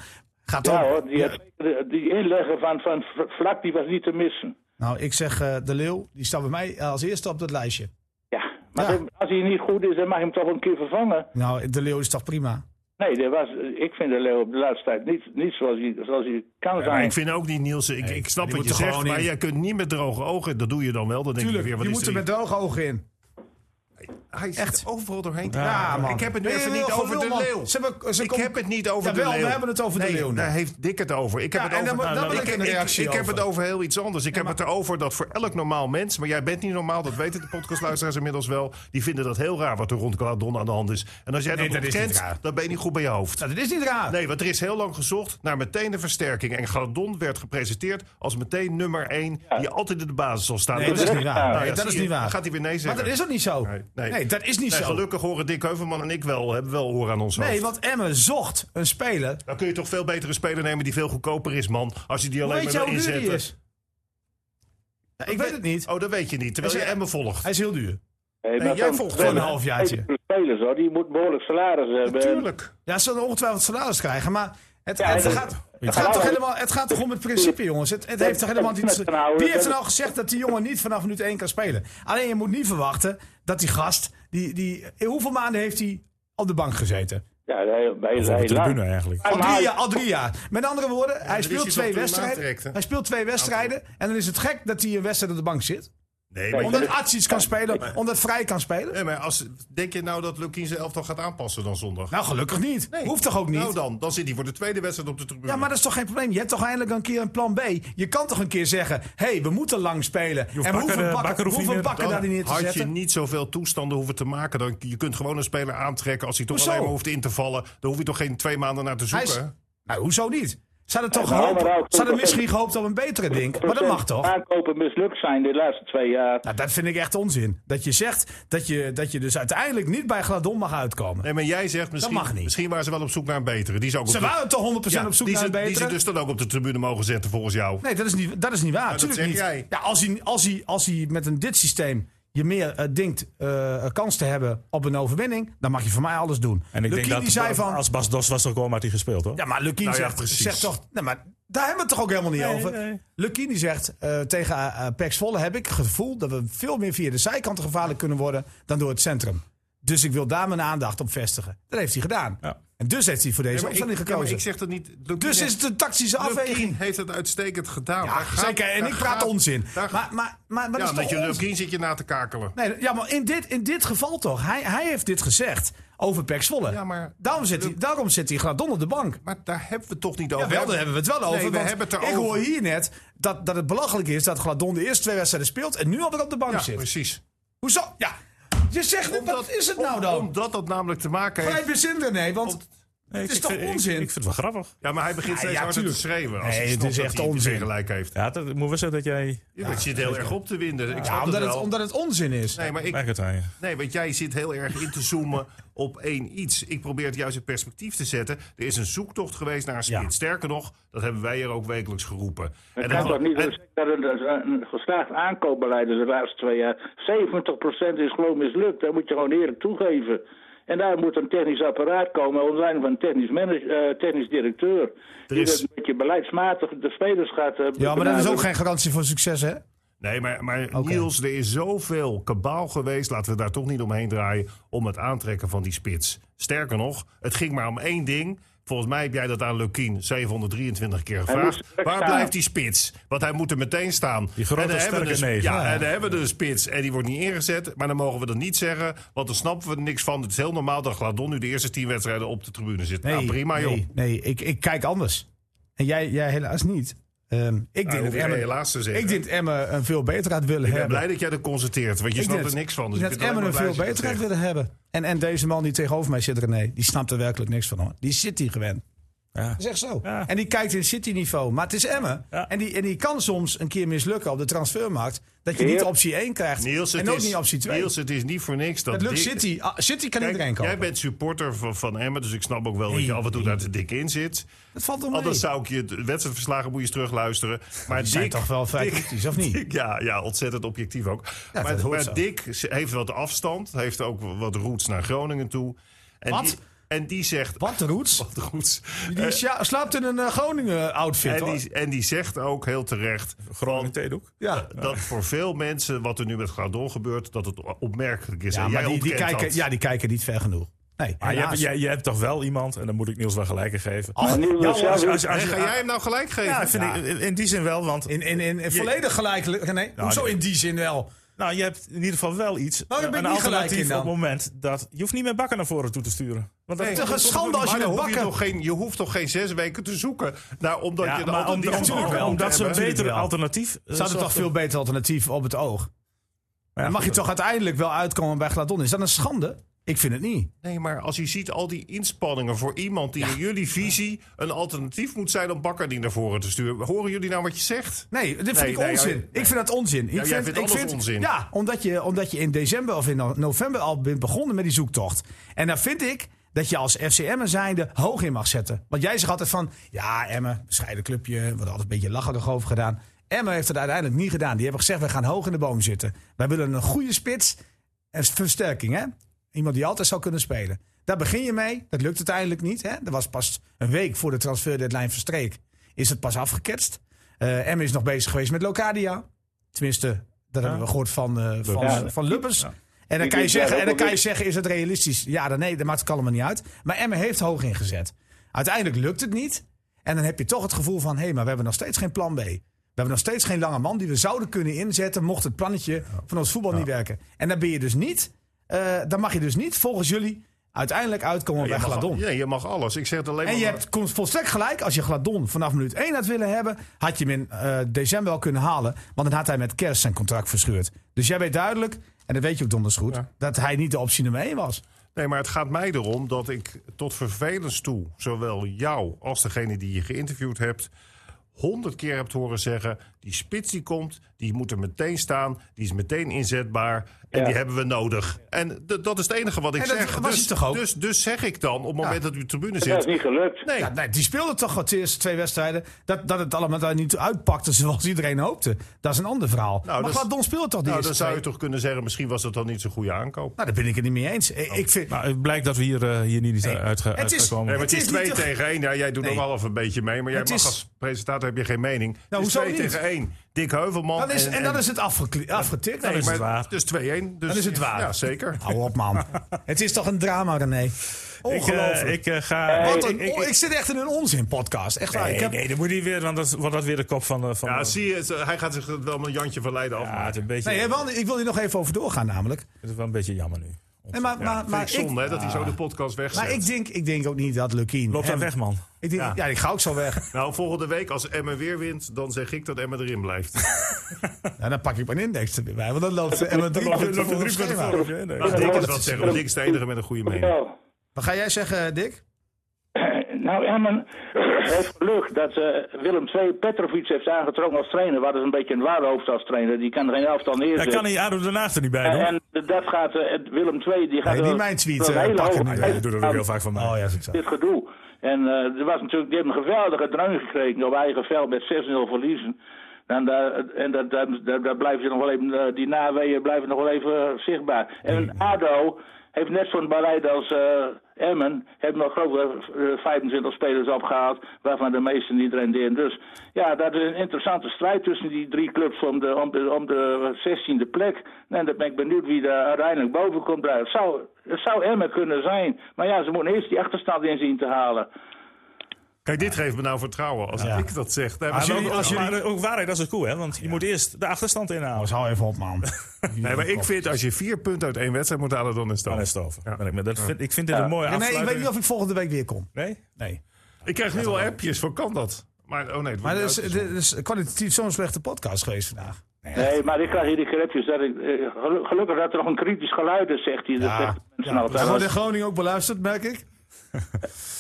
S4: Gaat
S8: Ja
S4: ook.
S8: hoor, die, had zeker- die inleggen van, van V- Vlak die was niet te missen.
S4: Nou, ik zeg eh, De Leeuw, die staat bij mij eh, als eerste op dat lijstje.
S8: Ja, maar
S4: Ja.
S8: als hij niet goed is, dan mag je hem toch een keer vervangen.
S4: Nou, De Leeuw is toch prima?
S8: Nee, dat was, ik vind de Leeuw op de laatste tijd niet, niet zoals, hij, zoals hij kan
S3: Maar
S8: zijn.
S3: ik vind ook niet, Niels, ik, ik snap
S4: die
S3: wat je
S4: moet er
S3: zegt,
S4: gewoon
S3: maar
S4: in.
S3: jij kunt niet met droge ogen, dat doe je dan wel. Dan denk
S4: Tuurlijk,
S3: je
S4: je
S3: weer, wat
S4: moet
S3: is
S4: er
S3: er
S4: met
S3: hier-
S4: droge ogen in.
S3: Hij zit
S4: Echt.
S3: overal doorheen. te-
S4: Ja, man.
S3: Ik heb het nu
S4: Nee,
S3: even
S4: nee,
S3: niet
S4: nee,
S3: over de
S4: gelul, man.
S3: leeuw.
S4: Ze hebben- ze
S3: ik
S4: kom-
S3: heb het niet over de
S4: Jawel,
S3: leeuw.
S4: we hebben het over de
S3: Nee,
S4: leeuw nu.
S3: Daar heeft Dick het over. Ik heb
S4: Ja,
S3: het
S4: en
S3: over. Nou,
S4: dan- dan wil ik
S3: ik,
S4: een reactie
S3: ik heb
S4: over.
S3: het over heel iets anders. Ik heb het erover dat voor elk normaal mens, maar jij bent niet normaal, dat weten de podcastluisteraars inmiddels wel. Die vinden dat heel raar wat er rond Gladon aan de hand is. En als jij dat,
S4: dat is
S3: ontkent,
S4: niet raar.
S3: dan ben je niet goed bij je hoofd.
S4: Nou, dat is niet raar.
S3: Nee, want er is heel lang gezocht naar meteen een versterking. En Gladon werd gepresenteerd als meteen nummer 1, die altijd in de basis zal staan.
S4: Nee, dat is niet waar.
S3: Nou ja,
S4: Nee, dat
S3: zie
S4: is
S3: je,
S4: niet waar.
S3: dan Gaat hij weer nee
S4: maar
S3: zeggen.
S4: dat is ook niet zo.
S3: Nee, nee.
S4: Nee, dat is niet
S3: Nee,
S4: zo.
S3: gelukkig horen Dick Heuvelman en ik wel, hebben wel oor aan ons hoofd.
S4: Nee, want Emmen zocht een speler.
S3: Dan kun je toch veel betere speler nemen die veel goedkoper is, man. Als je die alleen
S4: Weet je
S3: maar
S4: hoe
S3: wil
S4: duur die
S3: inzetten.
S4: is? Ja, ik weet het niet.
S3: Oh, dat weet je niet. Terwijl
S4: Hij
S3: je
S4: is-
S3: Emmen volgt.
S4: Hij is heel duur.
S8: Hey,
S3: Nee,
S8: maar
S3: jij
S8: zo'n
S3: volgt
S4: Voor een
S3: Emmen.
S8: speler-
S4: halfjaartje.
S8: Spelers hoor, die moet behoorlijk salaris hebben.
S3: Natuurlijk.
S4: Ja, ze zullen ongetwijfeld salaris krijgen, maar het,
S8: Ja,
S4: het,
S8: dat-
S4: gaat, het,
S8: dat-
S4: gaat toch helemaal, het gaat toch om het principe, jongens. Het, het heeft toch helemaal niet...
S8: dat- nou,
S4: Wie
S8: dat-
S4: heeft er nou gezegd dat die jongen niet vanaf minuut 1 kan spelen? Alleen je moet niet verwachten dat die gast... Die, die, in hoeveel maanden heeft hij op de bank gezeten?
S8: Ja, hij, hij,
S2: Of op de tribune eigenlijk.
S4: Al drie, jaar, al drie jaar. Met andere woorden, hij
S3: is
S4: speelt
S3: hij
S4: twee
S3: toch prima
S4: wedstrijden.
S3: terecht, hè?
S4: Hij speelt twee wedstrijden en dan is het gek dat hij een wedstrijd op de bank zit.
S3: Nee, maar,
S4: Omdat Atsic kan spelen, omdat Vrij kan spelen.
S3: nee, maar als, denk je nou dat Lukien zijn elftal gaat aanpassen dan zondag?
S4: Nou, gelukkig niet. Hoeft toch ook niet?
S3: Nou dan, dan zit hij voor de tweede wedstrijd op de tribune.
S4: Ja, maar dat is toch geen probleem? Je hebt toch eindelijk een keer een plan B? Je kan toch een keer zeggen, hé, hey, we moeten lang spelen. En we
S2: Bakker,
S4: hoeven
S2: eh,
S4: bakken,
S2: Bakker hoeft niet
S4: hoeven
S2: meer.
S4: bakken
S3: Dan
S4: daar niet neer te
S3: had je
S4: zetten.
S3: niet zoveel toestanden hoeven te maken. Dan, je kunt gewoon een speler aantrekken als hij toch
S4: Hoezo?
S3: alleen maar hoeft in te vallen. Dan hoef je toch geen twee maanden naar te
S4: Hij is,
S3: zoeken.
S4: nou, hoezo niet? Ze hadden toch
S8: maar
S4: gehoopt,
S8: allemaal ook
S4: ze hadden
S8: 10%.
S4: misschien gehoopt op een betere ding. Maar
S8: eh,
S4: dat mag toch?
S8: Aankopen mislukt zijn de laatste twee jaar.
S4: Nou, dat vind ik echt onzin. Dat je zegt dat je, dat je dus uiteindelijk niet bij Gladon mag uitkomen.
S3: Nee, maar jij zegt misschien,
S4: mag niet.
S3: misschien waren ze wel op zoek naar een betere. Die zou ook
S4: Ze
S3: op de-
S4: waren toch 100%
S3: Ja,
S4: op zoek
S3: die
S4: naar een
S3: ze- Die ze
S4: betere?
S3: dus dan ook op de tribune mogen zetten volgens jou.
S4: Nee, dat is niet, dat is niet waar.
S3: dat
S4: Tuurlijk
S3: zeg
S4: niet.
S3: jij.
S4: Ja, als, hij, als, hij, als hij met een dit systeem je meer eh, denkt eh, kans te hebben op een overwinning, dan mag je voor mij alles doen.
S2: En ik
S4: Lukien
S2: denk
S4: die
S2: dat
S4: zei van,
S2: als Bas Dos was er gewoon had hij gespeeld hoor.
S4: Ja, maar Lukien
S3: Nou ja,
S4: zegt,
S3: precies.
S4: zegt toch... Nee, maar daar hebben we het toch ook helemaal niet over?
S2: nee.
S4: Lukien die zegt eh, tegen eh eh, Pax Volle heb ik het gevoel... dat we veel meer via de zijkanten gevaarlijk kunnen worden... dan door het centrum. Dus ik wil daar mijn aandacht op vestigen. Dat heeft hij gedaan.
S2: Ja.
S4: En dus heeft hij voor
S3: Ja,
S4: deze
S3: maar ik-
S4: opstelling
S3: ja, maar
S4: gekozen.
S3: ik zeg dat niet. Lukien
S4: dus is
S3: heeft-
S4: het een tactische
S3: Lukien
S4: afweging.
S3: heeft het uitstekend gedaan.
S4: Ja,
S3: Daar gaat-
S4: zeker. En
S3: daar
S4: ik praat
S3: gaat-
S4: onzin.
S3: daar-
S4: Maar, maar, maar, dat
S3: ja,
S4: is toch
S3: met je
S4: onzin?
S3: Lukien zit je na te kakelen.
S4: Nee, ja, maar in dit, in dit geval toch. Hij, hij heeft dit gezegd over Pax Volle.
S3: Ja, maar-
S4: daarom, zit hij, daarom zit hij Gladon op de bank.
S3: Maar daar hebben we het toch niet over.
S4: Ja, wel, daar hebben we het wel over.
S3: Nee, we
S4: want
S3: hebben het
S4: ik
S3: erover.
S4: hoor hier net dat, dat het belachelijk is dat Gladon de eerste twee wedstrijden speelt en nu alweer op de bank
S3: Ja,
S4: zit.
S3: precies.
S4: Hoezo? Ja, je zegt het, wat is het
S3: om-
S4: nou dan?
S3: Omdat dat namelijk te maken heeft...
S4: Grijp eens in, René, want
S2: Nee,
S4: het
S2: ik-
S4: is
S2: ik
S4: toch
S2: vind- ik-
S4: onzin?
S2: Ik, vind het wel grappig.
S3: Ja, maar hij begint steeds
S4: ja,
S3: harder
S4: tuurlijk.
S3: te schreeuwen. Als
S4: Nee,
S3: hij
S4: het
S3: snapt
S4: is
S3: dat
S4: echt
S3: hij
S4: onzin.
S3: gelijk heeft.
S2: Ja, dat moet wel zeggen dat jij
S3: Ja, dat zit heel erg op te winden. Ik snap
S4: ja, omdat
S3: het
S4: het,
S3: wel.
S4: omdat het onzin is.
S3: Nee, maar ik,
S2: merkt het aan je.
S3: Nee, want jij zit heel erg in te zoomen op één iets. Ik probeer het juist in perspectief te zetten. Er is een zoektocht geweest naar een spits.
S2: Ja.
S3: Sterker nog, dat hebben wij er ook wekelijks geroepen.
S8: Het
S3: En
S8: kan
S3: dan-
S8: toch niet
S3: en-
S8: zo zijn dat een, een geslaagd aankoopbeleid is de laatste twee jaar. 70% is gewoon mislukt. Dat moet je gewoon eerlijk toegeven. En daar moet een technisch apparaat komen onder leiding van een technisch, manage- eh, technisch directeur. Die
S3: is-
S8: dat een beetje beleidsmatig de spelers gaat. eh,
S4: Ja, maar dat is
S8: benaderen.
S4: ook geen garantie voor succes, hè?
S3: Nee, maar, maar Niels, er is zoveel kabaal geweest. Laten we daar toch niet omheen draaien. Om het aantrekken van die spits. Sterker nog, het ging maar om één ding. Volgens mij heb jij dat aan Lukien 723 keer gevraagd.
S8: moest er
S3: Waar
S8: staan.
S3: blijft die spits? Want hij moet er meteen staan.
S2: Die grote,
S3: En dan hebben we
S2: sterke
S3: dus-
S2: neef.
S3: Ja,
S2: Ja.
S3: en dan hebben we de spits. En die wordt niet ingezet. Maar dan mogen we dat niet zeggen. Want dan snappen we er niks van. Het is heel normaal dat Gladon nu de eerste tien wedstrijden op de tribune zit. nou, prima joh.
S4: Nee, nee ik, ik kijk anders. En jij, jij helaas niet. Ehm, ik,
S3: Nou,
S4: denk
S3: hoef
S4: dat
S3: ik
S4: Emmen,
S3: helaas te zeggen.
S4: ik denk dat Emmen een veel beter had willen
S3: Ik ben
S4: hebben.
S3: blij dat jij dat constateert. Want je
S4: Ik
S3: snapt
S4: denk
S3: er niks van. Dus ik
S4: dat
S3: ben alleen maar
S4: Emmen een
S3: blij
S4: veel
S3: dat je dat
S4: beter had
S3: zegt.
S4: willen hebben. En, en deze man die tegenover mij zit, René, die snapt er werkelijk niks van. Hoor. Die zit hier gewend.
S2: Ja.
S4: Dat is echt zo.
S2: Ja.
S4: En die kijkt in City-niveau. Maar het is Emmen.
S2: Ja.
S4: En, die, en die kan soms een keer mislukken op de transfermarkt. Dat je niet
S8: Heer.
S4: optie 1 krijgt.
S3: Niels, het
S4: en ook
S3: is,
S4: niet optie 2.
S3: Niels, het is niet voor niks dat
S4: het lukt
S3: Dick-
S4: City. Ah, City kan
S3: Kijk,
S4: iedereen
S3: Jij
S4: kopen.
S3: bent supporter van, van Emmen, dus ik snap ook wel dat je af en toe daar te dik in zit.
S4: Dat valt om mee.
S3: Anders zou ik je de wedstrijdverslagen moet je eens terugluisteren. Maar
S4: Die zijn
S3: Dick-
S4: toch wel vrij
S3: Dick-
S4: kritisch, of niet?
S3: Dick- ja, ja, ontzettend objectief ook.
S4: dat
S3: maar
S4: hoort
S3: maar
S4: zo.
S3: Dick heeft wat afstand, heeft ook wat roots naar Groningen toe. En
S4: Wat?
S3: Die, en die zegt...
S4: Wat de roots.
S3: Wat roots.
S4: Die sja- slaapt in een eh, Groningen outfit.
S3: En
S4: hoor.
S3: die, en die zegt ook heel terecht...
S2: Groningen
S3: van-
S2: theedoek.
S4: ja.
S3: Dat voor veel mensen, wat er nu met Gladon gebeurt, dat het opmerkelijk is.
S4: Ja,
S3: En
S4: maar
S3: jij
S4: die, die
S3: ontkent
S4: kijken,
S3: dat.
S4: ja, die kijken niet ver genoeg. Nee,
S2: Maar Ah, je
S4: helaas. Ah,
S2: hebt, jij, jij hebt toch wel iemand, en dan moet ik Niels wel gelijk in geven.
S8: Maar nu wil zelf-
S2: als, als, als,
S3: Hey, ga jij hem nou gelijk geven?
S2: ja, vind Ik, in- in die zin wel, want
S4: in, in, in, in volledig gelijk. Nou, Nee, hoezo
S2: nee.
S4: in die zin wel?
S2: nou, je hebt in ieder geval wel iets.
S4: Oh,
S2: eh,
S4: daar ben ik
S2: een
S4: niet gelijk
S2: alternatief
S4: in dan.
S2: op het moment dat je hoeft niet meer bakken naar voren toe te sturen. Want dat
S3: Nee,
S2: is
S4: toch een schande als je
S3: maar
S4: de
S3: dan hoef je,
S4: bakken-
S3: toch geen, je hoeft toch geen zes weken te zoeken. Nou, omdat je
S2: Ja,
S3: de
S2: maar om,
S3: alternatief
S2: om-
S3: natuurlijk
S2: om-
S3: wel
S2: omdat
S3: te
S2: ze een
S3: hebben.
S2: beter
S4: Natuurlijk wel.
S2: alternatief. eh,
S4: Ze hadden toch veel beter alternatief op het oog.
S2: Ja,
S4: Dan mag je
S2: goed.
S4: toch uiteindelijk wel uitkomen bij Gladon. Is dat een schande? Ik vind het niet.
S3: Nee, maar als je ziet al die inspanningen voor iemand die in jullie visie een alternatief moet zijn om Bakker die naar voren te sturen. Horen jullie nou wat je zegt?
S4: Nee, dit vind
S3: Nee,
S4: ik
S3: nee,
S4: onzin.
S3: ja, nee.
S4: Ik vind dat onzin. ik
S3: jij vindt alles onzin.
S4: Ja, omdat je, omdat je in december of in no- november al bent begonnen met die zoektocht. En dan vind ik dat je als FCM'er zijnde hoog in mag zetten. Want jij zegt altijd van, ja Emmen, bescheiden clubje. We hadden altijd een beetje lacherig over gedaan. Emmen heeft het uiteindelijk niet gedaan. Die hebben gezegd, we gaan hoog in de boom zitten. Wij willen een goede spits en versterking. Hè? Iemand die altijd zou kunnen spelen. Daar begin je mee. Dat lukt uiteindelijk niet. Hè? Er was pas een week voor de transferdeadline verstreek. Is het pas afgeketst. Eh Emmen is nog bezig geweest met Locadia. Tenminste, dat hebben we gehoord van, eh, van,
S8: Ja.
S4: van Lubbers. En dan
S8: Die
S4: kan je
S8: dit jaar
S4: zeggen, en
S8: ook
S4: dan kan
S8: alweer-
S4: je zeggen, is het realistisch? Ja, dan nee, dat maakt het allemaal niet uit. Maar Emmen heeft hoog ingezet. Uiteindelijk lukt het niet. En dan heb je toch het gevoel van, hé, maar we hebben nog steeds geen plan B. We hebben nog steeds geen lange man die we zouden kunnen inzetten... mocht het plannetje van ons voetbal niet werken. En dan ben je dus niet, eh, dan mag je dus niet volgens jullie uiteindelijk uitkomen bij
S3: je, mag,
S4: Gladon.
S3: al- ja, je mag alles. Ik zeg het alleen
S4: En
S3: maar.
S4: je hebt komt volstrekt gelijk. Als je Gladon vanaf minuut 1 had willen hebben, had je hem in eh, december al kunnen halen. Want dan had hij met kerst zijn contract verscheurd. Dus jij weet duidelijk, en dat weet je ook donders goed, dat hij niet de optie nummer 1 was.
S3: Nee, maar het gaat mij erom dat ik tot vervelens toe, zowel jou als degene die je geïnterviewd hebt, honderd keer hebt horen zeggen: die spits die komt, die moet er meteen staan, die is meteen inzetbaar en
S7: Ja.
S3: die hebben we nodig. En d- dat is het enige wat ik
S4: En dat
S3: zeg.
S4: was
S3: dus,
S4: het toch ook?
S3: Dus, dus zeg ik dan, op het moment dat u op de tribune
S8: Dat is
S3: zit.
S8: niet gelukt.
S3: Nee,
S4: Ja, nee, die speelde toch wat de eerste twee wedstrijden. Dat, dat het allemaal daar niet uitpakte zoals iedereen hoopte. Dat is een ander verhaal. maar
S3: dat is-
S4: Gladon speelde toch die
S3: nou, dan
S4: eerste
S3: zou je
S4: twee?
S3: toch kunnen zeggen: misschien was dat dan niet zo'n goede aankoop.
S4: Nou, daar ben ik het niet mee eens. Ik, ik vind,
S2: Nou, het blijkt dat we hier, eh, hier niet uit
S4: Nee, het is-
S2: uitgekomen.
S3: Nee, maar
S4: Het
S3: het is
S4: is niet
S3: 2
S4: te-
S3: tegen 1. Ja, jij doet
S4: Nee.
S3: ook half een beetje mee. Maar jij
S4: Het
S3: mag
S4: is-
S3: als presentator heb je geen mening.
S4: Nou,
S3: het is
S4: hoezo
S3: 2
S4: niet?
S3: tegen 1. Dick Heuvelman.
S4: dat is, en, dan is het afgekli- afgetikt.
S3: Nee,
S4: Dan is
S3: maar
S4: het waar.
S3: Dus 2-1. Dus,
S4: Dan is het waar.
S3: Ja, zeker.
S4: Hou op, man. het is toch een drama, René?
S2: ik, eh,
S4: Ongelooflijk.
S2: ik eh, ga.
S4: Wat een-
S2: ik, ik,
S4: oh, ik zit echt in een onzin-podcast. Echt waar.
S2: nee,
S4: ik heb,
S2: nee, dan moet hij weer, want dat wordt dat weer de kop van. de- van
S3: Ja,
S2: de-
S3: zie je, het, hij gaat zich wel met Jantje van Leiden
S2: ja, het
S3: afmaken.
S2: is een beetje,
S4: nee, wel, ik wil hier nog even over doorgaan namelijk.
S2: het is wel een beetje jammer nu.
S4: Nee, maar,
S3: Ja,
S4: maar,
S3: vind
S4: maar,
S3: ik zonde
S4: ik,
S3: hè, dat hij zo de podcast wegzet.
S4: maar ik, denk, ik denk ook niet dat Lukien...
S2: Loop dan
S4: hem-
S2: weg, man.
S4: Ik denk, ja. ik ga ook zo weg.
S3: Nou, volgende week als Emmen weer wint, dan zeg ik dat Emmen erin blijft.
S4: Ja, dan pak ik mijn index erbij. Want dan loopt en dan drie punten voor het schema.
S3: Nou, Dick is
S4: dat
S3: wat
S4: is-
S3: zeggen. want Dick is de enige met een goede mening.
S8: Nou,
S4: Wat ga jij zeggen, Dick?
S8: Nou, Emmen heeft gelukt dat eh, Willem II Petrovic heeft aangetrokken als trainer. Wat is een beetje een waarhoofd als trainer. Die kan geen elftal
S2: Daar
S8: neerzetten.
S2: kan hij Ado daarnaast er niet bij
S8: En,
S2: doen.
S8: en dat gaat eh, het- Willem II. Die gaat
S4: Nee, niet
S8: wel-
S4: mijn tweet,
S8: wel een
S4: eh,
S8: hele
S4: pak
S8: hoge
S4: hem niet.
S2: Ja,
S8: prijs
S2: ik doe dat ook heel
S8: aan
S2: vaak van mij.
S4: Oh ja, zo.
S8: Dit gedoe. En eh, er was natuurlijk, die hebben een geweldige dreun gekregen op eigen veld met 6-0 verliezen. En, daar- en dat, dat, dat, dat blijven ze nog wel even, eh, die naweeën blijven nog wel even eh, zichtbaar. En ADO heeft net zo'n beleid als eh, Emmen, heeft nog grote 25 eh, spelers opgehaald, waarvan de meesten niet rendeerden. Dus ja, dat is een interessante strijd tussen die drie clubs om de, om de, om de 16e plek. En dan ben ik benieuwd wie er uiteindelijk boven komt. drijven. Het zou, het zou Emmen kunnen zijn, maar ja, ze moeten eerst die achterstand in zien te halen.
S3: Kijk, dit geeft me nou vertrouwen als
S4: Ja.
S3: ik dat zeg. Nee, maar
S2: Maar
S3: ook-
S2: ook- maar eh, ook waarheid, dat is het cool, hè? Want je moet eerst de achterstand inhalen.
S4: Jongens, Oh, hou even op, man.
S3: nee, maar ik vind als je vier punten uit één wedstrijd moet halen, dan is het
S2: Dan
S3: over.
S2: is het over. Ben ik, met- dat vind, ik vind dit een mooie
S4: Nee, ik
S2: afsluiting.
S4: weet niet of ik volgende week weer kom.
S2: Nee?
S4: Nee.
S3: Ik krijg nu al appjes, van kan dat? Maar, oh nee, het
S4: Maar dus,
S3: wordt
S4: dat is,
S3: niet
S4: dat is kwalitatief zo'n slechte podcast geweest vandaag.
S8: Nee, maar ik krijg hier die grepjes. Dat ik, eh, gelu- gelukkig dat er nog een kritisch geluid is, zegt hij. Dat zegt mensen
S4: Dat
S8: altijd.
S4: wordt in Groningen ook beluisterd, merk ik.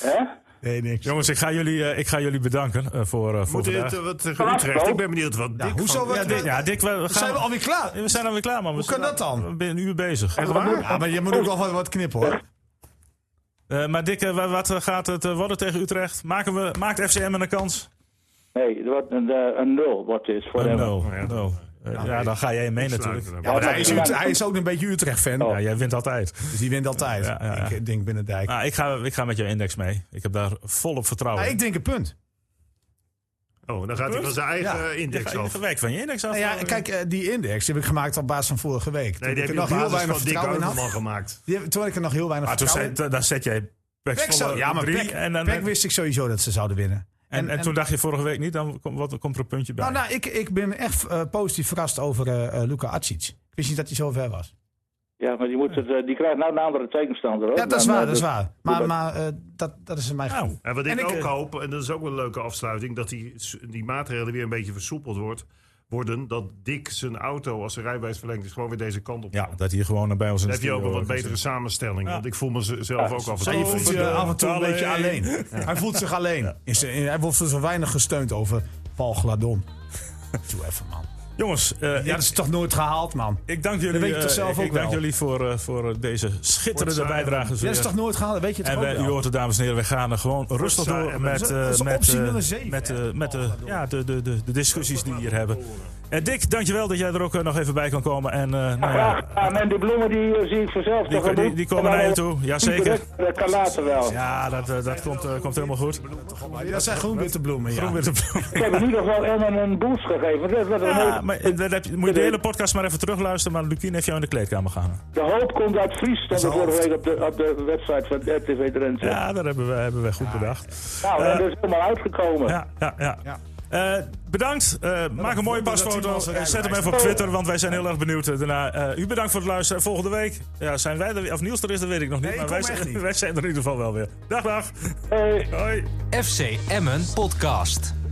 S8: Hè?
S4: Nee, niks.
S2: Jongens, ik ga jullie, eh, ik ga jullie bedanken eh, voor, eh voor
S3: Moet
S2: vandaag.
S3: dit eh, wat tegen Utrecht? Ik ben benieuwd wat Dick
S4: hoezo
S3: van-
S4: wat-
S3: Ja,
S2: Ja,
S3: Dick-
S2: Dick, ja, Dick, we, gaan,
S4: Zijn we alweer klaar?
S2: we zijn alweer klaar, man. We
S4: Hoe kan
S2: zijn
S4: dat dan?
S2: al- We zijn een uur bezig.
S3: Echt waar?
S4: Ja, maar je moet ook wel wat, wat knippen, hoor.
S2: Eh, maar Dick, eh, wa- wat eh, gaat het eh, worden tegen Utrecht? Maken we, maakt FCM een kans? Eh,
S8: Nee, er wordt een, eh, een nul wordt dit voor hem.
S2: no, no. Eh, ja, dan ga jij mee natuurlijk.
S3: Sluiten we
S8: Ja,
S3: hem.
S8: dat
S4: Hij is,
S8: kan.
S4: Ut- hij is ook een beetje Utrecht-fan.
S2: Ja, jij wint altijd.
S4: Dus die wint altijd.
S2: Oh. Ja, ja, ja.
S4: Ik denk Binnendijk.
S2: Nou, ik, ga, ik ga met jouw index mee. Ik heb daar volop vertrouwen
S4: Ah,
S2: in.
S4: ik denk een punt.
S3: Oh, dan gaat hij van zijn eigen
S4: Ja.
S3: eh,
S2: Je
S3: index
S2: gaat
S3: af.
S2: iedere week van je index af.
S4: Nou ja, kijk, eh, die index die heb ik gemaakt op basis van vorige week.
S3: Nee, die heb
S4: ik er
S3: je op
S4: nog heel
S3: basis
S4: weinig
S3: van Dick
S4: vertrouwen in had.
S3: Heuvelman gemaakt.
S4: Die heb- Toen ik er nog heel weinig
S2: maar toen
S4: vertrouwen
S2: zet,
S4: in
S2: daar zet jij Pek
S4: Pek zou-
S2: Zwolle
S4: Ja, maar
S2: op drie
S4: Pek,
S2: en, dan,
S4: Pek wist ik sowieso dat ze zouden winnen.
S2: en, en, toen dacht je vorige week niet, dan komt, wat, komt er een puntje bij.
S4: Nou, nou ik, ik ben echt eh, positief verrast over eh, eh, Luca Atsic. Ik wist niet dat hij zo ver was.
S8: Ja, maar die, moet het, eh, die krijgt nou een andere tegenstander. Hoor.
S4: Ja, dat is
S8: Dan,
S4: waar,
S8: eh,
S4: dat is waar. Maar,
S8: dat-
S4: maar eh, dat, dat is in mijn gevoel.
S2: Nou,
S3: En wat ik,
S4: En ik,
S3: ook
S4: eh,
S3: hoop, en dat is ook wel een leuke afsluiting, dat die, die maatregelen weer een beetje versoepeld wordt. worden dat Dick zijn auto, als zijn rijbewijs verlengd is, gewoon weer deze kant op.
S2: Ja, dat hier gewoon bij ons in
S3: Dan
S2: de
S3: heb je ook
S2: studio eh,
S3: een
S2: gezet.
S3: wat betere samenstelling.
S2: Ja.
S3: Want ik voel mezelf ook af en toe.
S4: En je voelt je af en toe een beetje alleen. Hij voelt zich alleen. Is, eh, hij wordt zo weinig gesteund over Paul Gladon. Doe even, man.
S2: Jongens, eh,
S4: Ja,
S2: ik-
S4: dat is toch nooit gehaald, man.
S2: Ik dank jullie,
S4: weet je
S2: eh,
S4: toch zelf
S2: ik,
S4: ook
S2: ik dank
S4: wel?
S2: jullie voor, eh, voor deze schitterende
S3: saai,
S2: bijdrage.
S4: Ja,
S2: weer.
S4: dat is toch nooit gehaald? Weet je het
S2: en
S4: ook
S2: wij, u
S4: wel?
S2: hoort het, dames en heren, we gaan er gewoon rustig
S3: saai,
S2: door
S3: en
S2: met,
S4: dat is- dat is
S2: eh, met,
S4: optie
S2: eh,
S4: nummer zeven,
S2: met,
S4: hè?
S2: eh, met eh,
S4: Oh, ga
S2: ja, de, de, de, de discussies die we hier hebben. En Dick, dankjewel dat jij er ook eh, nog even bij kan komen. En eh, nou
S8: Graag
S2: ja,
S8: gedaan. En die bloemen die eh, zie ik vanzelf
S2: die,
S8: tegemoet.
S2: die, die komen naar je toe,
S8: eh,
S2: jazeker.
S8: Dat kan later wel.
S2: Ja, dat, eh, dat komt, eh, komt helemaal goed.
S4: Ja, Dat zijn groen-witte bloemen, ja.
S2: Groen met de
S8: Ik heb in ieder geval Emmen een boost gegeven. Dat was een
S2: Ja,
S8: hoop.
S2: maar eh, dat heb je- moet je de hele podcast maar even terugluisteren. Maar Lukien heeft jou in de kleedkamer gehangen.
S8: De hoop komt uit Fries, stond er
S2: Zijn
S8: vorige week op de, op de website van RTV Drenthe.
S2: Ja, dat hebben we, hebben we goed bedacht.
S8: nou, en
S2: eh,
S8: dat is helemaal uitgekomen.
S2: Ja, ja, ja. Eh, bedankt. Eh, maak een mooie
S4: dat die
S2: pasfoto.
S4: man zijn
S2: Eh, Zet hem
S4: rijbewijs
S2: even op Twitter, want wij zijn heel erg benieuwd. eh, daarna, Eh, u bedankt voor het luisteren. Volgende week ja, zijn wij er weer. Of Niels er is, dat weet ik nog niet.
S4: Nee,
S2: maar
S4: ik
S2: wij
S4: kom echt
S2: zijn,
S4: niet.
S2: wij zijn er in ieder geval wel weer. Dag, dag.
S8: Hey.
S2: Hoi.
S1: FC Emmen Podcast.